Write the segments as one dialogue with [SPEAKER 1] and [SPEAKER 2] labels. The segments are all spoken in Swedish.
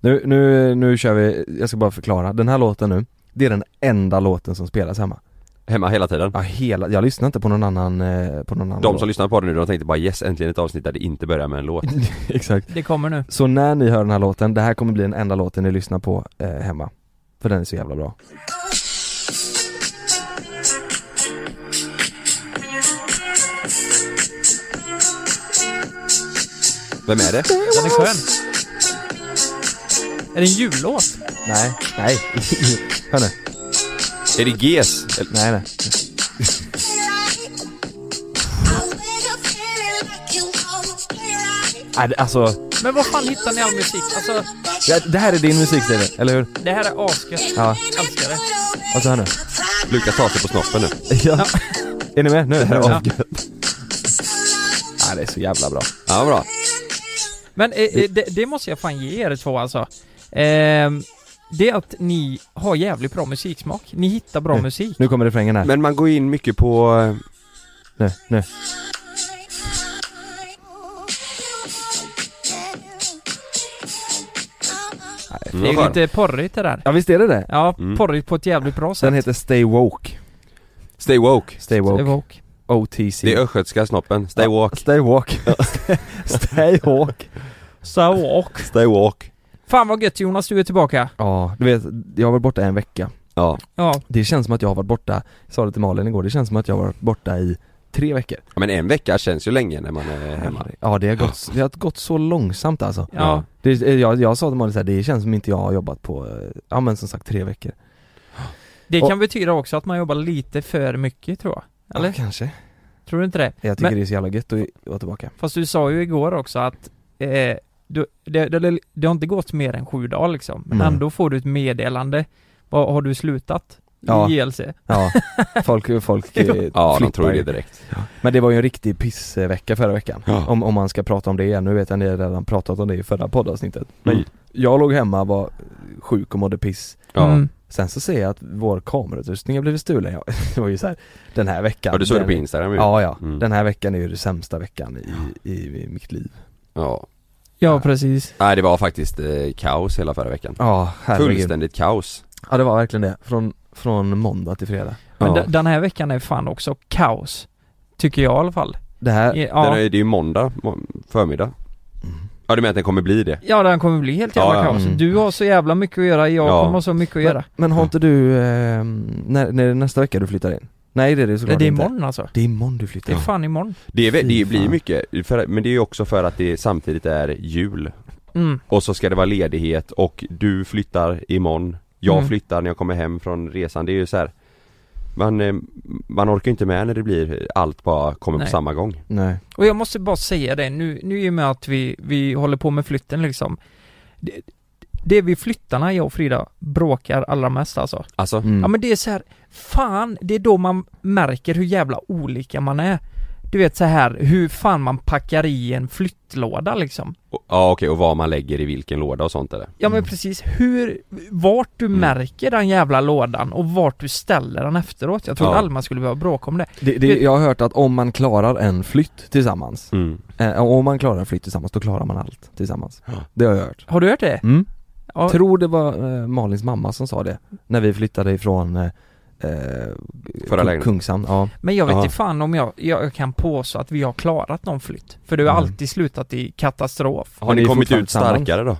[SPEAKER 1] Nu, nu, nu kör vi, jag ska bara förklara. Den här låten nu, det är den enda låten som spelas hemma.
[SPEAKER 2] Hemma hela tiden.
[SPEAKER 1] Ja, hela, jag lyssnar inte på någon annan, eh, på någon annan
[SPEAKER 2] De
[SPEAKER 1] låt.
[SPEAKER 2] som lyssnar på det nu de tänkte bara yes, äntligen ett avsnitt där det inte börjar med en låt.
[SPEAKER 1] Exakt.
[SPEAKER 3] Det kommer nu.
[SPEAKER 1] Så när ni hör den här låten, det här kommer bli den enda låten ni lyssnar på eh, hemma. För den är så jävla bra.
[SPEAKER 2] Vem är det?
[SPEAKER 3] Den är skön. Är det en jullåt?
[SPEAKER 1] Nej, nej. Hör nu.
[SPEAKER 2] Är det GES? Eller-
[SPEAKER 1] Nej, nej. nej det- alltså,
[SPEAKER 3] Men vad fan hittar ni all musik? Alltså,
[SPEAKER 1] det, det här är din musik Steven, eller hur?
[SPEAKER 3] det här är asgött.
[SPEAKER 1] Ja,
[SPEAKER 3] Älskar det.
[SPEAKER 1] alltså hör nu.
[SPEAKER 2] Lukas tar sig på snoppen nu.
[SPEAKER 1] Ja. Är ni med nu? Det
[SPEAKER 2] Ja.
[SPEAKER 1] det är så jävla bra.
[SPEAKER 2] Ja, bra.
[SPEAKER 3] Men eh, eh, det, det måste jag fan ge er två alltså. Ehm, det är att ni har jävligt bra musiksmak. Ni hittar bra
[SPEAKER 1] Mm.
[SPEAKER 3] musik.
[SPEAKER 1] Nu kommer refrängen här.
[SPEAKER 2] Men man går in mycket på... eh,
[SPEAKER 1] Nu, nu.
[SPEAKER 3] Det är ju
[SPEAKER 2] vad fan.
[SPEAKER 3] lite porrigt det där.
[SPEAKER 1] Ja visst är det det?
[SPEAKER 3] Ja,
[SPEAKER 2] Mm.
[SPEAKER 3] porrigt på ett jävligt bra sätt.
[SPEAKER 1] Den heter Stay Woke.
[SPEAKER 2] Stay woke.
[SPEAKER 1] Stay Woke.
[SPEAKER 3] Evoke.
[SPEAKER 1] OTC.
[SPEAKER 2] Det är östgötska snoppen. Stay
[SPEAKER 1] Ja,
[SPEAKER 2] woke.
[SPEAKER 1] Stay Woke. Stay Woke.
[SPEAKER 3] So, och.
[SPEAKER 2] Stay woke.
[SPEAKER 3] Fan vad gött Jonas, du är tillbaka.
[SPEAKER 1] Ja, du vet, jag har varit borta en vecka.
[SPEAKER 2] Ja.
[SPEAKER 3] Ja,
[SPEAKER 1] Det känns som att jag har varit borta, jag sa det till Malin igår, det känns som att jag har varit borta i tre veckor.
[SPEAKER 2] Ja, Men en vecka känns ju länge när man är hemma.
[SPEAKER 1] Ja det har gått, det har gått så långsamt alltså.
[SPEAKER 3] ja.
[SPEAKER 1] Det, jag, jag sa till Malin så här, det känns som inte jag har jobbat på, eh, ja men som sagt tre veckor.
[SPEAKER 3] Det
[SPEAKER 1] Och-
[SPEAKER 3] kan betyda också att man jobbar lite för mycket tror jag. Eller?
[SPEAKER 1] Ja, kanske.
[SPEAKER 3] Tror du inte det?
[SPEAKER 1] Jag tycker
[SPEAKER 3] Men-
[SPEAKER 1] det är så jävla gött att vara tillbaka.
[SPEAKER 3] Fast du sa ju igår också att eh, du, det, det, det har inte gått mer än sju dagar liksom, men
[SPEAKER 1] Mm.
[SPEAKER 3] ändå får du ett meddelande. Vad, har du slutat?
[SPEAKER 1] Mm. Ja.
[SPEAKER 3] I GLC?
[SPEAKER 1] Ja, folk, folk eh,
[SPEAKER 2] Ja, de
[SPEAKER 1] flippar
[SPEAKER 2] tror ju
[SPEAKER 1] ju.
[SPEAKER 2] det direkt.
[SPEAKER 1] Men det var ju en riktig pissvecka förra veckan.
[SPEAKER 2] Ja.
[SPEAKER 1] Om, om man ska prata om det igen, nu vet jag ni har redan pratat om det i förra poddavsnittet. Men
[SPEAKER 2] Mm.
[SPEAKER 1] jag låg hemma, var sjuk och mådde piss.
[SPEAKER 2] Ja.
[SPEAKER 3] Mm.
[SPEAKER 1] Sen så ser jag att vår kamerautrustning har blivit stulen. Ja, det var ju så här, den här veckan.
[SPEAKER 2] Ja, du såg det
[SPEAKER 1] den,
[SPEAKER 2] på Instagram ju.
[SPEAKER 1] Ja, ja.
[SPEAKER 2] Mm.
[SPEAKER 1] Den här veckan är ju den sämsta veckan i, i, i mitt liv.
[SPEAKER 2] Ja.
[SPEAKER 3] Ja, precis.
[SPEAKER 2] Nej, det var faktiskt eh, kaos hela förra veckan.
[SPEAKER 1] Ja, herregud.
[SPEAKER 2] Fullständigt kaos.
[SPEAKER 1] Ja, det var verkligen det. Från, från måndag till fredag.
[SPEAKER 2] Ja.
[SPEAKER 3] Men de- den här veckan är fan också kaos. Tycker jag i alla fall.
[SPEAKER 1] Det här,
[SPEAKER 2] Den
[SPEAKER 3] Ja,
[SPEAKER 2] är, det är ju måndag, må- förmiddag. Ja, du menar att den kommer bli det?
[SPEAKER 3] ja den kommer bli helt jävla
[SPEAKER 2] Ja, ja.
[SPEAKER 3] kaos.
[SPEAKER 1] Mm.
[SPEAKER 3] Du har så jävla mycket att göra, jag
[SPEAKER 2] Ja.
[SPEAKER 3] kommer ha så mycket att göra.
[SPEAKER 1] Men har inte du, eh, när, när är det nästa vecka du flyttar in? Nej det är det
[SPEAKER 3] Nej,
[SPEAKER 1] såklart
[SPEAKER 3] det är
[SPEAKER 1] inte.
[SPEAKER 3] imorgon alltså.
[SPEAKER 1] Det är imorgon du
[SPEAKER 3] Det
[SPEAKER 1] flyttar
[SPEAKER 3] är
[SPEAKER 1] in.
[SPEAKER 3] fan imorgon.
[SPEAKER 2] Det, är, väl-
[SPEAKER 1] Fy
[SPEAKER 2] det blir
[SPEAKER 1] fan.
[SPEAKER 2] mycket, för, men det är ju också för att det samtidigt är jul
[SPEAKER 3] Mm.
[SPEAKER 2] Och så ska det vara ledighet och du flyttar imorgon Jag
[SPEAKER 3] Mm.
[SPEAKER 2] flyttar när jag kommer hem från resan, det är ju så här. Man, eh, man orkar ju inte med när det blir allt bara kommer
[SPEAKER 3] Nej.
[SPEAKER 2] på samma gång
[SPEAKER 1] Nej.
[SPEAKER 3] Och jag måste bara säga det nu, nu i och med att vi, vi håller på med flytten liksom. Det, det är vi flyttarna, jag och Frida, bråkar allra mest alltså.
[SPEAKER 2] Alltså,
[SPEAKER 1] Mm.
[SPEAKER 3] Ja men det är så här, fan, det är då man märker hur jävla olika man är. Du vet så här, hur fan man packar i en flyttlåda liksom.
[SPEAKER 2] och- ja okej och vad man lägger i vilken låda och sånt eller?
[SPEAKER 3] Ja men
[SPEAKER 1] Mm.
[SPEAKER 3] precis, hur, vart du
[SPEAKER 2] Mm.
[SPEAKER 3] märker den jävla lådan och vart du ställer den efteråt. Jag trodde
[SPEAKER 2] Ja.
[SPEAKER 3] aldrig man skulle behöva bråka om det.
[SPEAKER 1] det, det, jag har hört att om man klarar en flytt tillsammans,
[SPEAKER 2] Mm.
[SPEAKER 1] eh, om man klarar en flytt tillsammans, då klarar man allt tillsammans.
[SPEAKER 2] Ja.
[SPEAKER 1] Det har jag hört.
[SPEAKER 3] Har du hört det?
[SPEAKER 1] Mm.
[SPEAKER 3] Ja,
[SPEAKER 1] Tror det var eh, Malins mamma som sa det, när vi flyttade ifrån eh, eh, Kung-
[SPEAKER 2] lägenheten.
[SPEAKER 1] Kungshamn. Ja.
[SPEAKER 3] men jag vet
[SPEAKER 2] Jaha.
[SPEAKER 3] inte fan om jag, jag, jag kan påstå att vi har klarat någon flytt. För det har
[SPEAKER 1] Mm.
[SPEAKER 3] alltid slutat i katastrof.
[SPEAKER 2] Har
[SPEAKER 1] Men
[SPEAKER 2] ni
[SPEAKER 1] det är
[SPEAKER 2] kommit
[SPEAKER 1] fortfarande
[SPEAKER 2] ut starkare då?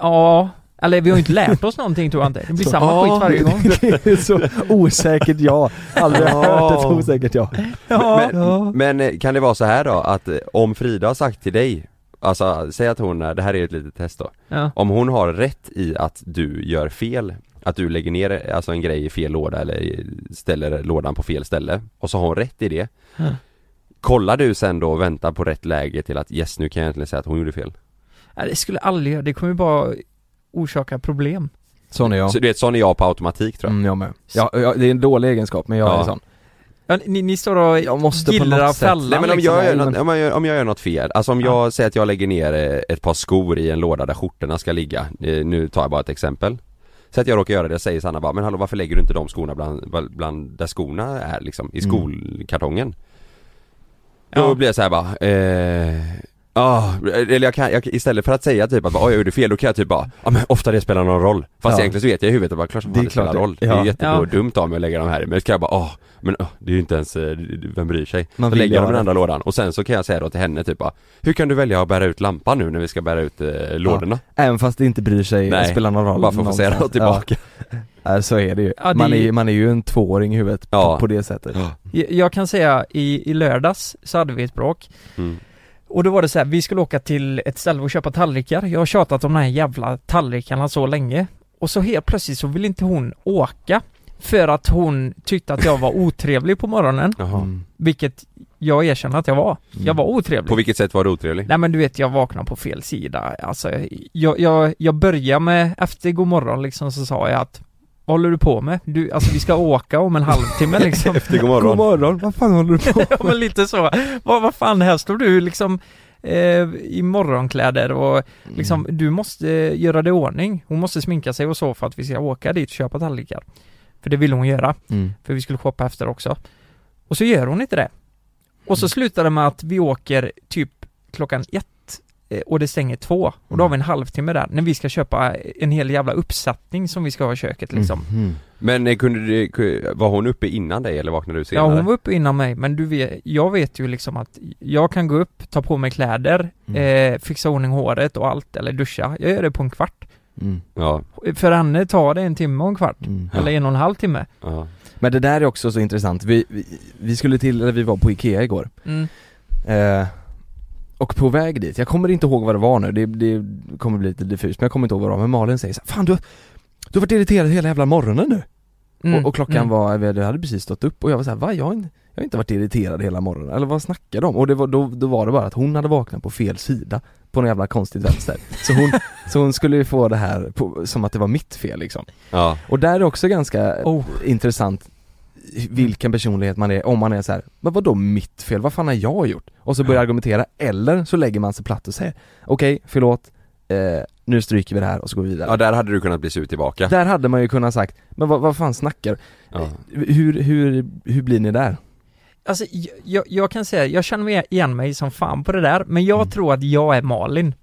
[SPEAKER 3] Ja, Eller vi har ju inte lärt oss någonting tror jag inte. Det blir samma skit varje gång.
[SPEAKER 1] det är så osäkert ja. Aldrig hört ett osäkert ja.
[SPEAKER 3] Ja.
[SPEAKER 2] Men, men eh, kan det vara så här då att eh, om Frida har sagt till dig Alltså säg att hon, eh, det här är ett litet test då
[SPEAKER 3] ja.
[SPEAKER 2] Om hon har rätt i att du gör fel Att du lägger ner eh, alltså en grej i fel låda eller i- ställer lådan på fel ställe Och så har hon rätt i det
[SPEAKER 3] Ja.
[SPEAKER 2] Kollar du sen då och väntar på rätt läge till att yes nu kan jag egentligen säga att hon gjorde fel
[SPEAKER 3] Nej, det skulle jag aldrig göra. Det kommer ju bara orsaka problem.
[SPEAKER 1] Sån är jag.
[SPEAKER 2] Så du vet sån är jag på automatik tror jag
[SPEAKER 1] Mm, jag med. Ja, ja, det är en dålig egenskap men jag
[SPEAKER 2] Ja.
[SPEAKER 1] är sån.
[SPEAKER 3] Ja, ni, ni står och
[SPEAKER 1] Jag måste på
[SPEAKER 3] gillrar
[SPEAKER 1] något sätt-
[SPEAKER 3] fällan
[SPEAKER 2] Nej men om
[SPEAKER 3] liksom.
[SPEAKER 2] jag, gör
[SPEAKER 1] men-
[SPEAKER 2] något, om, jag, gör- om jag gör något fel, alltså om jag säger att jag lägger ner eh, ett par skor i en låda där skjortorna ska ligga, Eh, nu tar jag bara ett exempel Så att jag råkar göra det, säger Sanna bara, men hallå varför lägger du inte de skorna bland, bland- bland där skorna är liksom, i
[SPEAKER 1] Mm.
[SPEAKER 2] skolkartongen?
[SPEAKER 3] Ja.
[SPEAKER 2] Då blir jag såhär bara, eh, ah, eller jag kan, jag, istället för att säga typ att bara, "Oj, jag gjorde fel, då kan jag typ bara, ja men ofta det spelar någon roll Fast
[SPEAKER 1] Ja.
[SPEAKER 2] egentligen så vet jag i huvudet att bara, klart som
[SPEAKER 1] Det
[SPEAKER 2] fan
[SPEAKER 1] är
[SPEAKER 2] det spelar
[SPEAKER 1] klart det-
[SPEAKER 2] roll Det
[SPEAKER 1] ja.
[SPEAKER 2] är ju jättebra
[SPEAKER 3] Ja.
[SPEAKER 2] dumt av mig att lägga de här, men så kan jag bara, ah, men ah, det är ju inte ens, eh, vem bryr sig?
[SPEAKER 1] Man
[SPEAKER 2] så
[SPEAKER 1] vill
[SPEAKER 2] lägger jag dem i
[SPEAKER 1] göra
[SPEAKER 2] den andra lådan och sen så kan jag säga då till henne typ bara, Hur kan du välja att bära ut lampan nu när vi ska bära ut eh, lådorna?
[SPEAKER 1] Även fast det inte bryr sig,
[SPEAKER 2] Nej.
[SPEAKER 1] spelar någon roll.
[SPEAKER 2] Bara för att få säga
[SPEAKER 1] någonstans.
[SPEAKER 2] något tillbaka
[SPEAKER 1] Ja. Ja, så är det ju.
[SPEAKER 3] Ja, det-
[SPEAKER 1] Man, är, ju- man är ju en tvååring i huvudet
[SPEAKER 2] Ja.
[SPEAKER 1] på, på det sättet.
[SPEAKER 2] Ja.
[SPEAKER 3] Jag jag kan säga i, i lördags så hade vi ett bråk
[SPEAKER 2] Mm.
[SPEAKER 3] och då var det så här, vi skulle åka till ett ställe och köpa tallrikar. Jag har tjatat om de här jävla tallrikarna så länge och så helt plötsligt så vill inte hon åka för att hon tyckte att jag var otrevlig på morgonen,
[SPEAKER 2] Jaha.
[SPEAKER 1] Mm.
[SPEAKER 3] vilket jag erkänner att jag var. Jag var otrevlig.
[SPEAKER 2] Mm. På vilket sätt var du otrevlig?
[SPEAKER 3] Nej men du vet, jag vaknade på fel sida. Alltså, jag, jag, jag började med, efter god morgon liksom, så sa jag att vad håller du på med? Du, alltså vi ska åka om en halvtimme liksom.
[SPEAKER 2] Efter god morgon.
[SPEAKER 1] morgon, vad fan håller du på
[SPEAKER 3] ja men lite så. Vad, vad fan, här står du liksom eh, i morgonkläder och
[SPEAKER 1] Mm.
[SPEAKER 3] liksom, du måste eh, göra det i ordning. Hon måste sminka sig och så för att vi ska åka dit och köpa tallrikar. För det ville hon göra,
[SPEAKER 1] Mm.
[SPEAKER 3] för vi skulle shoppa efter också. Och så gör hon inte det. Och
[SPEAKER 1] Mm.
[SPEAKER 3] så slutar det med att vi åker typ klockan ett eh, och det stänger två. Och då har vi
[SPEAKER 1] Mm.
[SPEAKER 3] en halvtimme där, när vi ska köpa en hel jävla uppsättning som vi ska ha i köket liksom.
[SPEAKER 1] Mm.
[SPEAKER 2] Men eh, kunde du, ku- var hon uppe innan dig eller vaknade du senare?
[SPEAKER 3] Ja hon var uppe innan mig, men du vet, jag vet ju liksom att jag kan gå upp, ta på mig kläder,
[SPEAKER 1] Mm.
[SPEAKER 3] eh, fixa ordning håret och allt, eller duscha. Jag gör det på en kvart.
[SPEAKER 1] Mm.
[SPEAKER 2] Ja,
[SPEAKER 3] För henne tar det en timme och en kvart.
[SPEAKER 1] Mm.
[SPEAKER 3] Eller en och en halv timme.
[SPEAKER 2] ja.
[SPEAKER 1] Men det där är också så intressant. Vi, vi, vi skulle till, eller vi var på Ikea igår.
[SPEAKER 3] Mm.
[SPEAKER 1] Eh, och på väg dit, jag kommer inte ihåg vad det var nu, det, det kommer bli lite diffust men jag kommer inte ihåg vad det var, men Malin säger så här, Fan du, har- du har varit irriterad hela jävla morgonen nu!
[SPEAKER 3] Mm.
[SPEAKER 1] Och, och klockan
[SPEAKER 3] Mm.
[SPEAKER 1] var, vi hade- hade precis stått upp och jag var så här, va? Jag har, inte, jag har inte varit irriterad hela morgonen, eller vad snackar de om? Och det var, då, då var det bara att hon hade vaknat på fel sida, på någon jävla konstigt vänster. Så hon, så hon skulle ju få det här på, som att det var mitt fel liksom.
[SPEAKER 2] ja.
[SPEAKER 1] Och där är också ganska
[SPEAKER 3] Oh.
[SPEAKER 1] intressant vilken personlighet man är, om man är så här, men vadå mitt fel, vad fan har jag gjort? Och så börjar
[SPEAKER 2] Ja.
[SPEAKER 1] argumentera, eller så lägger man sig platt och säger, okej, förlåt, eh, nu stryker vi det här och så går vi vidare.
[SPEAKER 2] ja, där hade du kunnat bli sur tillbaka
[SPEAKER 1] Där hade man ju kunnat sagt, men vad, vad fan snackar
[SPEAKER 2] ja.
[SPEAKER 1] hur, hur, hur blir ni där?
[SPEAKER 3] Alltså, jag- jag, jag kan säga, jag känner mig igen mig som fan på det där, men jag
[SPEAKER 1] Mm.
[SPEAKER 3] tror att jag är Malin.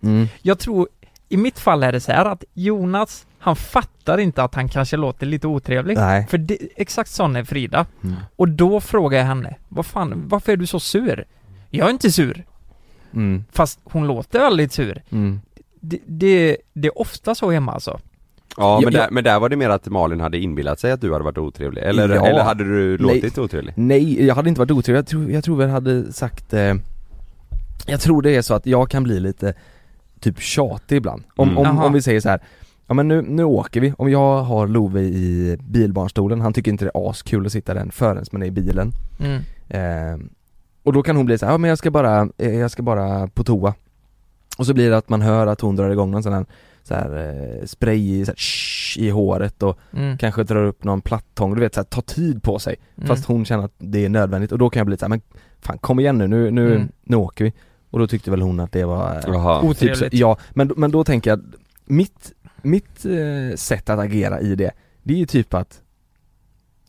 [SPEAKER 3] Jag tror, i mitt fall är det så här att Jonas, han fattar inte att han kanske låter lite otrevlig.
[SPEAKER 1] Nej.
[SPEAKER 3] För det, exakt sån är Frida.
[SPEAKER 1] Mm.
[SPEAKER 3] Och då frågar jag henne, vad fan, varför är du så sur? Jag är inte sur.
[SPEAKER 1] Mm.
[SPEAKER 3] Fast hon låter väldigt sur.
[SPEAKER 1] Mm.
[SPEAKER 3] Det, det, det är ofta så hemma alltså.
[SPEAKER 2] ja men,
[SPEAKER 1] Ja, ja.
[SPEAKER 2] Där, men där var det mer att Malin hade inbillat sig att du hade varit otrevlig, eller,
[SPEAKER 1] Ja.
[SPEAKER 2] eller hade du
[SPEAKER 1] Nej.
[SPEAKER 2] låtit otrevlig?
[SPEAKER 1] Nej, jag hade inte varit otrevlig. Jag tror, jag tror jag hade sagt eh, Jag tror det är så att jag kan bli lite typ tjatig ibland. Om,
[SPEAKER 2] Mm.
[SPEAKER 1] om,
[SPEAKER 3] Aha.
[SPEAKER 1] om vi säger så här. Ja men nu, nu åker vi. Om jag har Love i bilbarnstolen, han tycker inte det är askul att sitta i den förrän man är i bilen.
[SPEAKER 3] Mm.
[SPEAKER 1] Eh, och då kan hon bli så här, ja men jag ska bara, eh, jag ska bara på toa. Och så blir det att man hör att hon drar igång någon sån här, så här eh, spray i, så här, shh, i håret och
[SPEAKER 3] Mm.
[SPEAKER 1] kanske drar upp någon plattång, du vet så här, ta tid på sig. Fast hon känner att det är nödvändigt och då kan jag bli så här, men fan kom igen nu, nu, nu,
[SPEAKER 3] Mm.
[SPEAKER 1] nu åker vi. Och då tyckte väl hon att det var eh,
[SPEAKER 2] Jaha,
[SPEAKER 1] typ så,
[SPEAKER 3] Otrevligt.
[SPEAKER 1] Ja, men, men då tänker jag, mitt, mitt eh, sätt att agera i det, det är ju typ att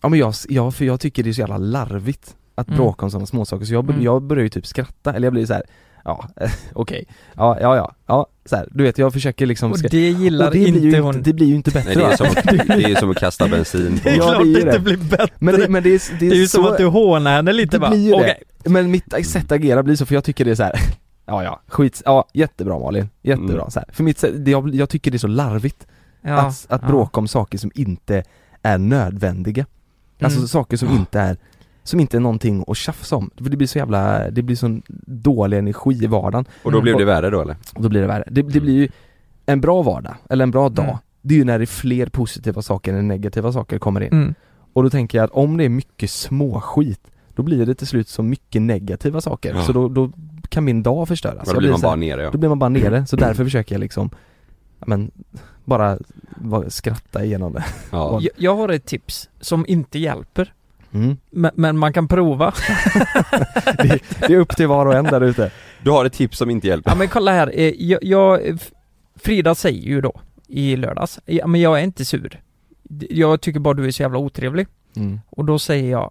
[SPEAKER 1] Ja men jag, ja, för jag tycker det är så jävla larvigt att
[SPEAKER 3] Mm.
[SPEAKER 1] bråka om sådana småsaker så jag, bör-
[SPEAKER 3] Mm.
[SPEAKER 1] jag börjar ju typ skratta, eller jag blir så här. Ja, eh, okej, ja, ja, ja, ja, så här, du vet jag försöker liksom
[SPEAKER 3] Och
[SPEAKER 1] ska-
[SPEAKER 3] det gillar
[SPEAKER 1] Och det blir
[SPEAKER 3] inte
[SPEAKER 1] ju
[SPEAKER 3] hon.
[SPEAKER 1] det blir ju inte bättre
[SPEAKER 2] Nej det är,
[SPEAKER 1] va?
[SPEAKER 2] som att, det är som att kasta bensin på
[SPEAKER 1] är Ja, klart det är ju det. det
[SPEAKER 3] blir bättre.
[SPEAKER 1] Men det, men det är, det är, så,
[SPEAKER 3] hånar henne lite
[SPEAKER 1] det blir ju det. Men mitt sätt att agera blir så, för jag tycker det är så här. Ja ja, skit, ja jättebra Malin, jättebra
[SPEAKER 2] Mm.
[SPEAKER 1] så här. För mitt sätt, det, jag, jag tycker det är så larvigt
[SPEAKER 3] Ja,
[SPEAKER 1] att, att
[SPEAKER 3] ja.
[SPEAKER 1] bråka om saker som inte är nödvändiga Alltså
[SPEAKER 3] Mm.
[SPEAKER 1] saker som inte är som inte är någonting att tjafsa om, för det blir så jävla, det blir sån dålig energi i vardagen
[SPEAKER 2] Och då
[SPEAKER 3] Mm.
[SPEAKER 2] blev det värre då eller?
[SPEAKER 1] och då blir det värre. Det, det
[SPEAKER 2] Mm.
[SPEAKER 1] blir ju en bra vardag, eller en bra dag,
[SPEAKER 3] Mm.
[SPEAKER 1] det är ju när det är fler positiva saker än negativa saker kommer in.
[SPEAKER 3] Mm.
[SPEAKER 1] Och då tänker jag att om det är mycket småskit, då blir det till slut så mycket negativa saker,
[SPEAKER 2] Ja.
[SPEAKER 1] så då, då kan min dag förstöras.
[SPEAKER 2] Då
[SPEAKER 1] Jag
[SPEAKER 2] blir man
[SPEAKER 1] så här-
[SPEAKER 2] bara Mm. nere ja.
[SPEAKER 1] då blir man bara nere, så därför försöker jag liksom, ja, men, bara va- skratta igenom det.
[SPEAKER 2] ja.
[SPEAKER 3] Jag, jag har ett tips som inte hjälper,
[SPEAKER 1] Mm.
[SPEAKER 3] men, men man kan prova.
[SPEAKER 1] Det, det är upp till var och en där ute.
[SPEAKER 2] Du har ett tips som inte hjälper?
[SPEAKER 3] Ja men kolla här, eh, jag, jag, F- Frida säger ju då i lördags, ja men jag är inte sur. D- Jag tycker bara du är så jävla otrevlig.
[SPEAKER 1] Mm.
[SPEAKER 3] Och då säger jag, ja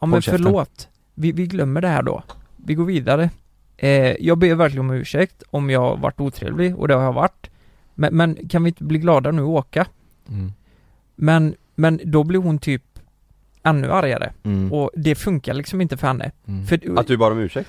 [SPEAKER 3] men
[SPEAKER 1] Håll käften.
[SPEAKER 3] förlåt, vi, vi glömmer det här då. Vi går vidare. Eh, jag ber verkligen om ursäkt om jag har varit otrevlig, och det har jag varit. Men, men kan vi inte bli glada nu och åka?
[SPEAKER 1] Mm.
[SPEAKER 3] Men, men då blir hon typ ännu argare.
[SPEAKER 1] Mm.
[SPEAKER 3] Och det funkar liksom inte för henne.
[SPEAKER 1] Mm.
[SPEAKER 3] För,
[SPEAKER 2] Att du bad om ursäkt?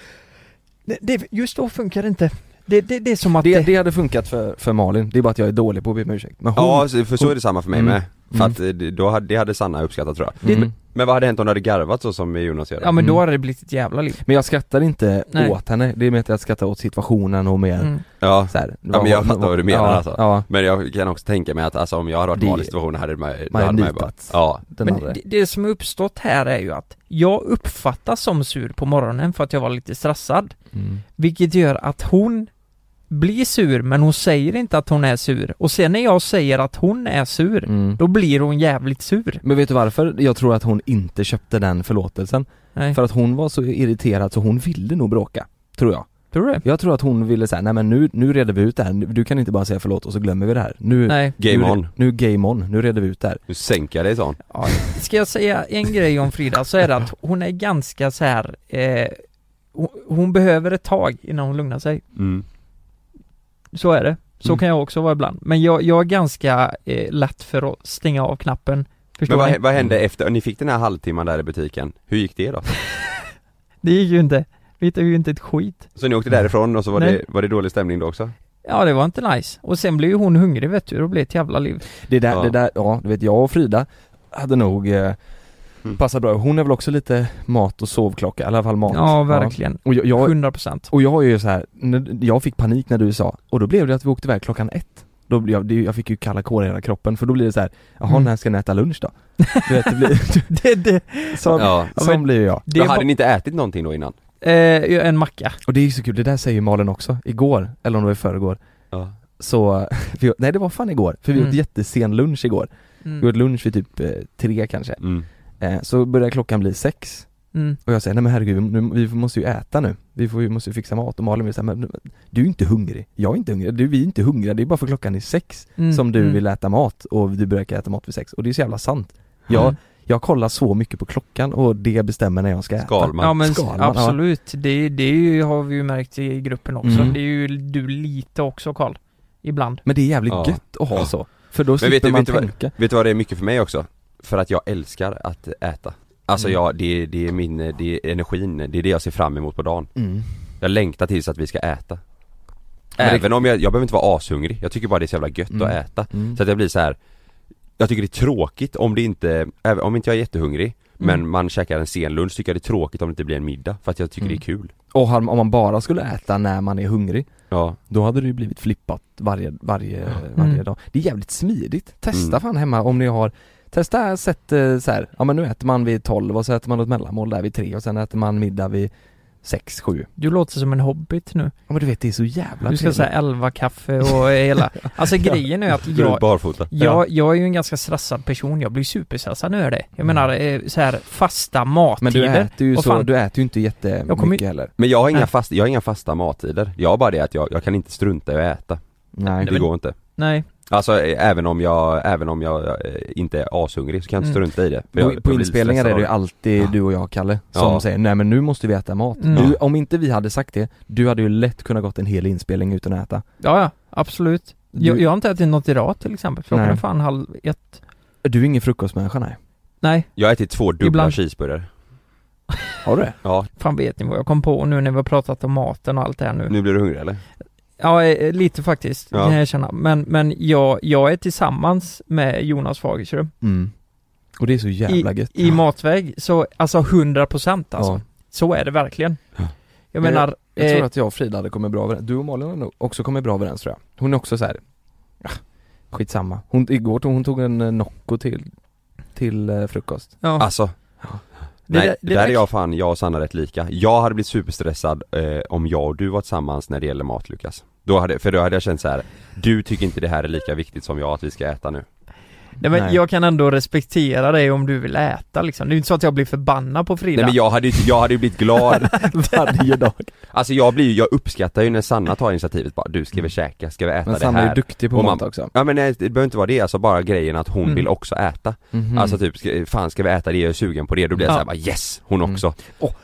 [SPEAKER 3] det, det, just då funkar det inte. Det, det, det är som att
[SPEAKER 1] Det, det hade funkat för, för Malin, det är bara att jag är dålig på att be om ursäkt. Men hon,
[SPEAKER 2] Ja, så- för så är det samma för mig
[SPEAKER 1] Mm.
[SPEAKER 2] med. För att eh, det- då hade, det hade Sanna uppskattat tror jag.
[SPEAKER 1] mm.
[SPEAKER 2] Men vad hade hänt om du hade garvat så som Jonas gör?
[SPEAKER 3] Ja men då
[SPEAKER 1] Mm.
[SPEAKER 3] hade det blivit ett jävla liv.
[SPEAKER 1] Men jag skrattar inte
[SPEAKER 3] Nej.
[SPEAKER 1] åt henne, det är mer att jag skrattar åt situationen och mer
[SPEAKER 3] Mm.
[SPEAKER 2] Ja.
[SPEAKER 1] så här,
[SPEAKER 2] men jag fattar vad du menar,
[SPEAKER 1] ja,
[SPEAKER 2] alltså.
[SPEAKER 1] Ja,
[SPEAKER 2] Men jag kan också tänka mig att alltså, om jag hade varit i
[SPEAKER 1] Det-
[SPEAKER 2] Malins situation hade man, då
[SPEAKER 1] man hade
[SPEAKER 2] hade man ju bara,
[SPEAKER 1] nitat.
[SPEAKER 2] Ja,
[SPEAKER 1] den
[SPEAKER 3] Men
[SPEAKER 1] andra.
[SPEAKER 3] det, det som har uppstått här är ju att jag uppfattas som sur på morgonen för att jag var lite stressad.
[SPEAKER 1] Mm.
[SPEAKER 3] Vilket gör att hon blir sur men hon säger inte att hon är sur. Och sen när jag säger att hon är sur,
[SPEAKER 1] Mm.
[SPEAKER 3] då blir hon jävligt sur.
[SPEAKER 1] Men vet du varför jag tror att hon inte köpte den förlåtelsen?
[SPEAKER 3] Nej.
[SPEAKER 1] För att hon var så irriterad så hon ville nog bråka, tror jag.
[SPEAKER 3] Tror du det?
[SPEAKER 1] Jag tror att hon ville säga, nej men nu, nu reder vi ut det här, du kan inte bara säga förlåt och så glömmer vi det här. Nu,
[SPEAKER 3] Nej.
[SPEAKER 2] game
[SPEAKER 1] nu,
[SPEAKER 2] on.
[SPEAKER 1] Nu game on, nu reder vi ut det här.
[SPEAKER 2] Nu sänker jag dig sa hon.
[SPEAKER 3] Ja, ska jag säga en grej om Frida så är det att hon är ganska så här. Eh, hon, hon behöver ett tag innan hon lugnar sig. Så är det. Så
[SPEAKER 1] Mm.
[SPEAKER 3] kan jag också vara ibland. Men jag, jag är ganska eh, lätt för att stänga av knappen. Förstår
[SPEAKER 2] Men
[SPEAKER 3] ni?
[SPEAKER 2] vad, vad hände efter, ni fick den här halvtimman där i butiken, hur gick det då?
[SPEAKER 3] Det gick ju inte. Vi hittade ju inte ett skit.
[SPEAKER 2] Så ni åkte därifrån och så var,
[SPEAKER 3] Nej.
[SPEAKER 2] det, var det dålig stämning då också?
[SPEAKER 3] Ja, det var inte nice. Och sen blev ju hon hungrig vet du, och det blev ett jävla liv.
[SPEAKER 1] Det där,
[SPEAKER 2] Ja.
[SPEAKER 1] det där, ja du vet jag och Frida hade nog eh,
[SPEAKER 2] Mm.
[SPEAKER 1] passat bra. Hon är väl också lite mat och sovklocka, i alla fall mat.
[SPEAKER 3] Ja, verkligen.
[SPEAKER 1] Och jag, jag,
[SPEAKER 3] 100%.
[SPEAKER 1] och jag är ju så här, när- jag fick panik när du sa, och då blev det att vi åkte iväg klockan ett. Då, blev jag, det- jag fick ju kalla kårar i hela kroppen för då blir det så här, jaha
[SPEAKER 3] Mm.
[SPEAKER 1] när ska ni äta lunch då? Du vet, det blir,
[SPEAKER 3] Det, det,
[SPEAKER 1] som,
[SPEAKER 2] Ja.
[SPEAKER 1] som blir jag.
[SPEAKER 3] det
[SPEAKER 2] Då
[SPEAKER 3] är
[SPEAKER 2] hade
[SPEAKER 3] bara,
[SPEAKER 2] ni inte ätit någonting då innan?
[SPEAKER 3] eh, en macka.
[SPEAKER 1] Och det är ju så kul, det där säger ju Malin också, igår, eller om det var i förrgår,
[SPEAKER 2] Ja.
[SPEAKER 1] så, vi, nej det var fan igår, för vi
[SPEAKER 3] Mm.
[SPEAKER 1] åt jättesen lunch igår. Vi
[SPEAKER 3] Mm.
[SPEAKER 1] åt lunch vid typ eh, tre kanske.
[SPEAKER 2] Mm.
[SPEAKER 1] Eh, så började klockan bli sex
[SPEAKER 3] Mm.
[SPEAKER 1] och jag säger nej men herregud, vi- nu, vi måste ju äta nu. Vi, får, vi måste ju fixa mat och Malin vill säga men men du är inte hungrig, jag är inte hungrig, du, vi är inte hungriga, det är bara för klockan är sex
[SPEAKER 3] Mm.
[SPEAKER 1] som du
[SPEAKER 3] mm.
[SPEAKER 1] vill äta mat och du brukar äta mat vid sex och det är så jävla sant. Jag,
[SPEAKER 3] Mm.
[SPEAKER 1] jag kollar så mycket på klockan och det bestämmer när jag ska äta.
[SPEAKER 2] Skalman.
[SPEAKER 3] Ja men
[SPEAKER 1] Skalman, ja.
[SPEAKER 3] absolut, det, det är ju, har vi ju märkt i gruppen också.
[SPEAKER 1] Mm.
[SPEAKER 3] Det är ju du lite också Karl, ibland.
[SPEAKER 1] Men det är jävligt
[SPEAKER 2] Ja.
[SPEAKER 1] gött att ha
[SPEAKER 2] Ja.
[SPEAKER 1] så, för då
[SPEAKER 2] vet
[SPEAKER 1] slipper
[SPEAKER 2] du-
[SPEAKER 1] man
[SPEAKER 2] vet du vad-
[SPEAKER 1] tänka.
[SPEAKER 2] Vet du vad det är mycket för mig också? För att jag älskar att äta. Alltså jag, det, det är min, eh, det är energin, det är det jag ser fram emot på dagen.
[SPEAKER 1] Mm.
[SPEAKER 2] Jag längtar tills att vi ska äta.
[SPEAKER 1] Men det-
[SPEAKER 2] Även om jag, jag behöver inte vara ashungrig, jag tycker bara det är så jävla gött
[SPEAKER 1] Mm.
[SPEAKER 2] att äta.
[SPEAKER 1] Mm.
[SPEAKER 2] Så att jag blir så här. Jag tycker det är tråkigt om det inte, även om inte jag är jättehungrig
[SPEAKER 1] Mm.
[SPEAKER 2] Men man käkar en sen lunch, tycker jag det är tråkigt om det inte blir en middag för att jag tycker
[SPEAKER 1] Mm.
[SPEAKER 2] det är kul
[SPEAKER 1] Och har- om man bara skulle äta när man är hungrig,
[SPEAKER 2] Ja,
[SPEAKER 1] då hade det ju blivit flippat varje, varje, varje
[SPEAKER 3] Mm.
[SPEAKER 1] dag. Det är jävligt smidigt. Testa
[SPEAKER 2] Mm.
[SPEAKER 1] fan hemma om ni har Testa sätt eh, så här, ja men nu äter man vid 12 och så äter man något mellanmål där vid 3 och sen äter man middag vid 6, 7.
[SPEAKER 3] Du låter som en hobbit nu.
[SPEAKER 1] Ja men du vet det är så jävla
[SPEAKER 3] Du ska
[SPEAKER 1] trevligt.
[SPEAKER 3] säga elva kaffe och hela. Alltså grejen är att
[SPEAKER 2] Går
[SPEAKER 3] jag,
[SPEAKER 2] ut barfota
[SPEAKER 3] jag, jag är ju en ganska stressad person. Jag blir superstressad när jag gör det. Jag menar eh, så här fasta
[SPEAKER 1] Mm. Men du
[SPEAKER 3] mattider.
[SPEAKER 1] äter ju
[SPEAKER 3] Vad
[SPEAKER 1] så,
[SPEAKER 3] fan?
[SPEAKER 1] du äter ju inte
[SPEAKER 3] Jag kommer ju-
[SPEAKER 1] jättemycket heller.
[SPEAKER 2] Men jag har, inga
[SPEAKER 3] Nej.
[SPEAKER 2] fast, jag har inga fasta mattider, jag har bara det att jag, jag kan inte strunta i att äta
[SPEAKER 1] Nej.
[SPEAKER 2] Det går inte
[SPEAKER 3] Nej.
[SPEAKER 2] Alltså eh, även om jag, även om jag eh, inte är ashungrig så kan jag inte
[SPEAKER 3] Mm.
[SPEAKER 2] strunta i det för
[SPEAKER 1] På,
[SPEAKER 2] jag,
[SPEAKER 1] på
[SPEAKER 2] jag blir
[SPEAKER 1] inspelningar
[SPEAKER 2] stressad
[SPEAKER 1] är det ju
[SPEAKER 2] av
[SPEAKER 1] alltid
[SPEAKER 2] Ja.
[SPEAKER 1] du och jag Kalle som
[SPEAKER 2] Ja.
[SPEAKER 1] säger nej men nu måste vi äta mat.
[SPEAKER 3] Mm.
[SPEAKER 1] Du, om inte vi hade sagt det, du hade ju lätt kunnat gått en hel inspelning utan att äta.
[SPEAKER 3] Ja, ja. Absolut.
[SPEAKER 1] Du-
[SPEAKER 3] Jag, jag har inte ätit något idag till exempel. Klockan
[SPEAKER 1] Nej.
[SPEAKER 3] är fan halv ett.
[SPEAKER 1] Du är ingen frukostmänniska nej.
[SPEAKER 3] Nej,
[SPEAKER 2] Jag har ätit två dubbla
[SPEAKER 3] Ibland.
[SPEAKER 2] cheeseburgare
[SPEAKER 1] Har du det?
[SPEAKER 2] Ja,
[SPEAKER 3] fan vet ni vad jag kom på nu när vi har pratat om maten och allt det här nu.
[SPEAKER 2] nu blir du hungrig eller?
[SPEAKER 3] Ja, eh, lite faktiskt,
[SPEAKER 2] Ja.
[SPEAKER 3] kan jag erkänna. Men, men jag, jag är tillsammans med Jonas Fagerström.
[SPEAKER 1] Mm. Och det är så jävla
[SPEAKER 3] I,
[SPEAKER 1] gött.
[SPEAKER 3] I matväg, så alltså 100% alltså.
[SPEAKER 1] Ja.
[SPEAKER 3] Så är det verkligen.
[SPEAKER 2] Ja.
[SPEAKER 3] Jag
[SPEAKER 1] Men
[SPEAKER 3] menar,
[SPEAKER 1] Jag tror
[SPEAKER 3] eh,
[SPEAKER 1] att jag och Frida hade kommit bra överens, du och Malin har nog också kommit bra överens tror jag Hon är också så här. "Ah, skitsamma Hon, igår tog hon tog en eh, Nocco till, till eh, frukost
[SPEAKER 3] ja,
[SPEAKER 2] Alltså,
[SPEAKER 3] det,
[SPEAKER 2] nej,
[SPEAKER 3] där- det
[SPEAKER 2] där är
[SPEAKER 3] där-
[SPEAKER 2] jag fan, jag och Sanna rätt lika. Jag hade blivit superstressad eh, om jag och du var tillsammans när det gäller mat Lukas. Då hade, för då hade jag känt så här. du tycker inte det här är lika viktigt som jag att vi ska äta nu.
[SPEAKER 3] Nej, men
[SPEAKER 1] Nej.
[SPEAKER 3] jag kan ändå respektera dig om du vill äta liksom. Det är ju inte så att jag blir förbannad på Frida.
[SPEAKER 2] Nej men jag hade ju, jag hade ju blivit glad.
[SPEAKER 1] varje dag
[SPEAKER 2] Alltså jag blir ju, jag uppskattar ju när Sanna tar initiativet bara, du ska vi käka, ska vi äta
[SPEAKER 1] Men
[SPEAKER 2] det
[SPEAKER 1] Sanna är ju
[SPEAKER 2] här?
[SPEAKER 1] duktig på
[SPEAKER 2] Och
[SPEAKER 1] mat
[SPEAKER 2] man-
[SPEAKER 1] också
[SPEAKER 2] Ja men nej, det behöver inte vara det, alltså bara grejen att hon
[SPEAKER 3] Mm.
[SPEAKER 2] vill också äta.
[SPEAKER 1] Mm.
[SPEAKER 2] Alltså typ, ska, fan ska vi äta det, jag är sugen på det, då blir jag
[SPEAKER 3] Ja.
[SPEAKER 2] så här, bara yes, hon också.
[SPEAKER 1] Eh, och-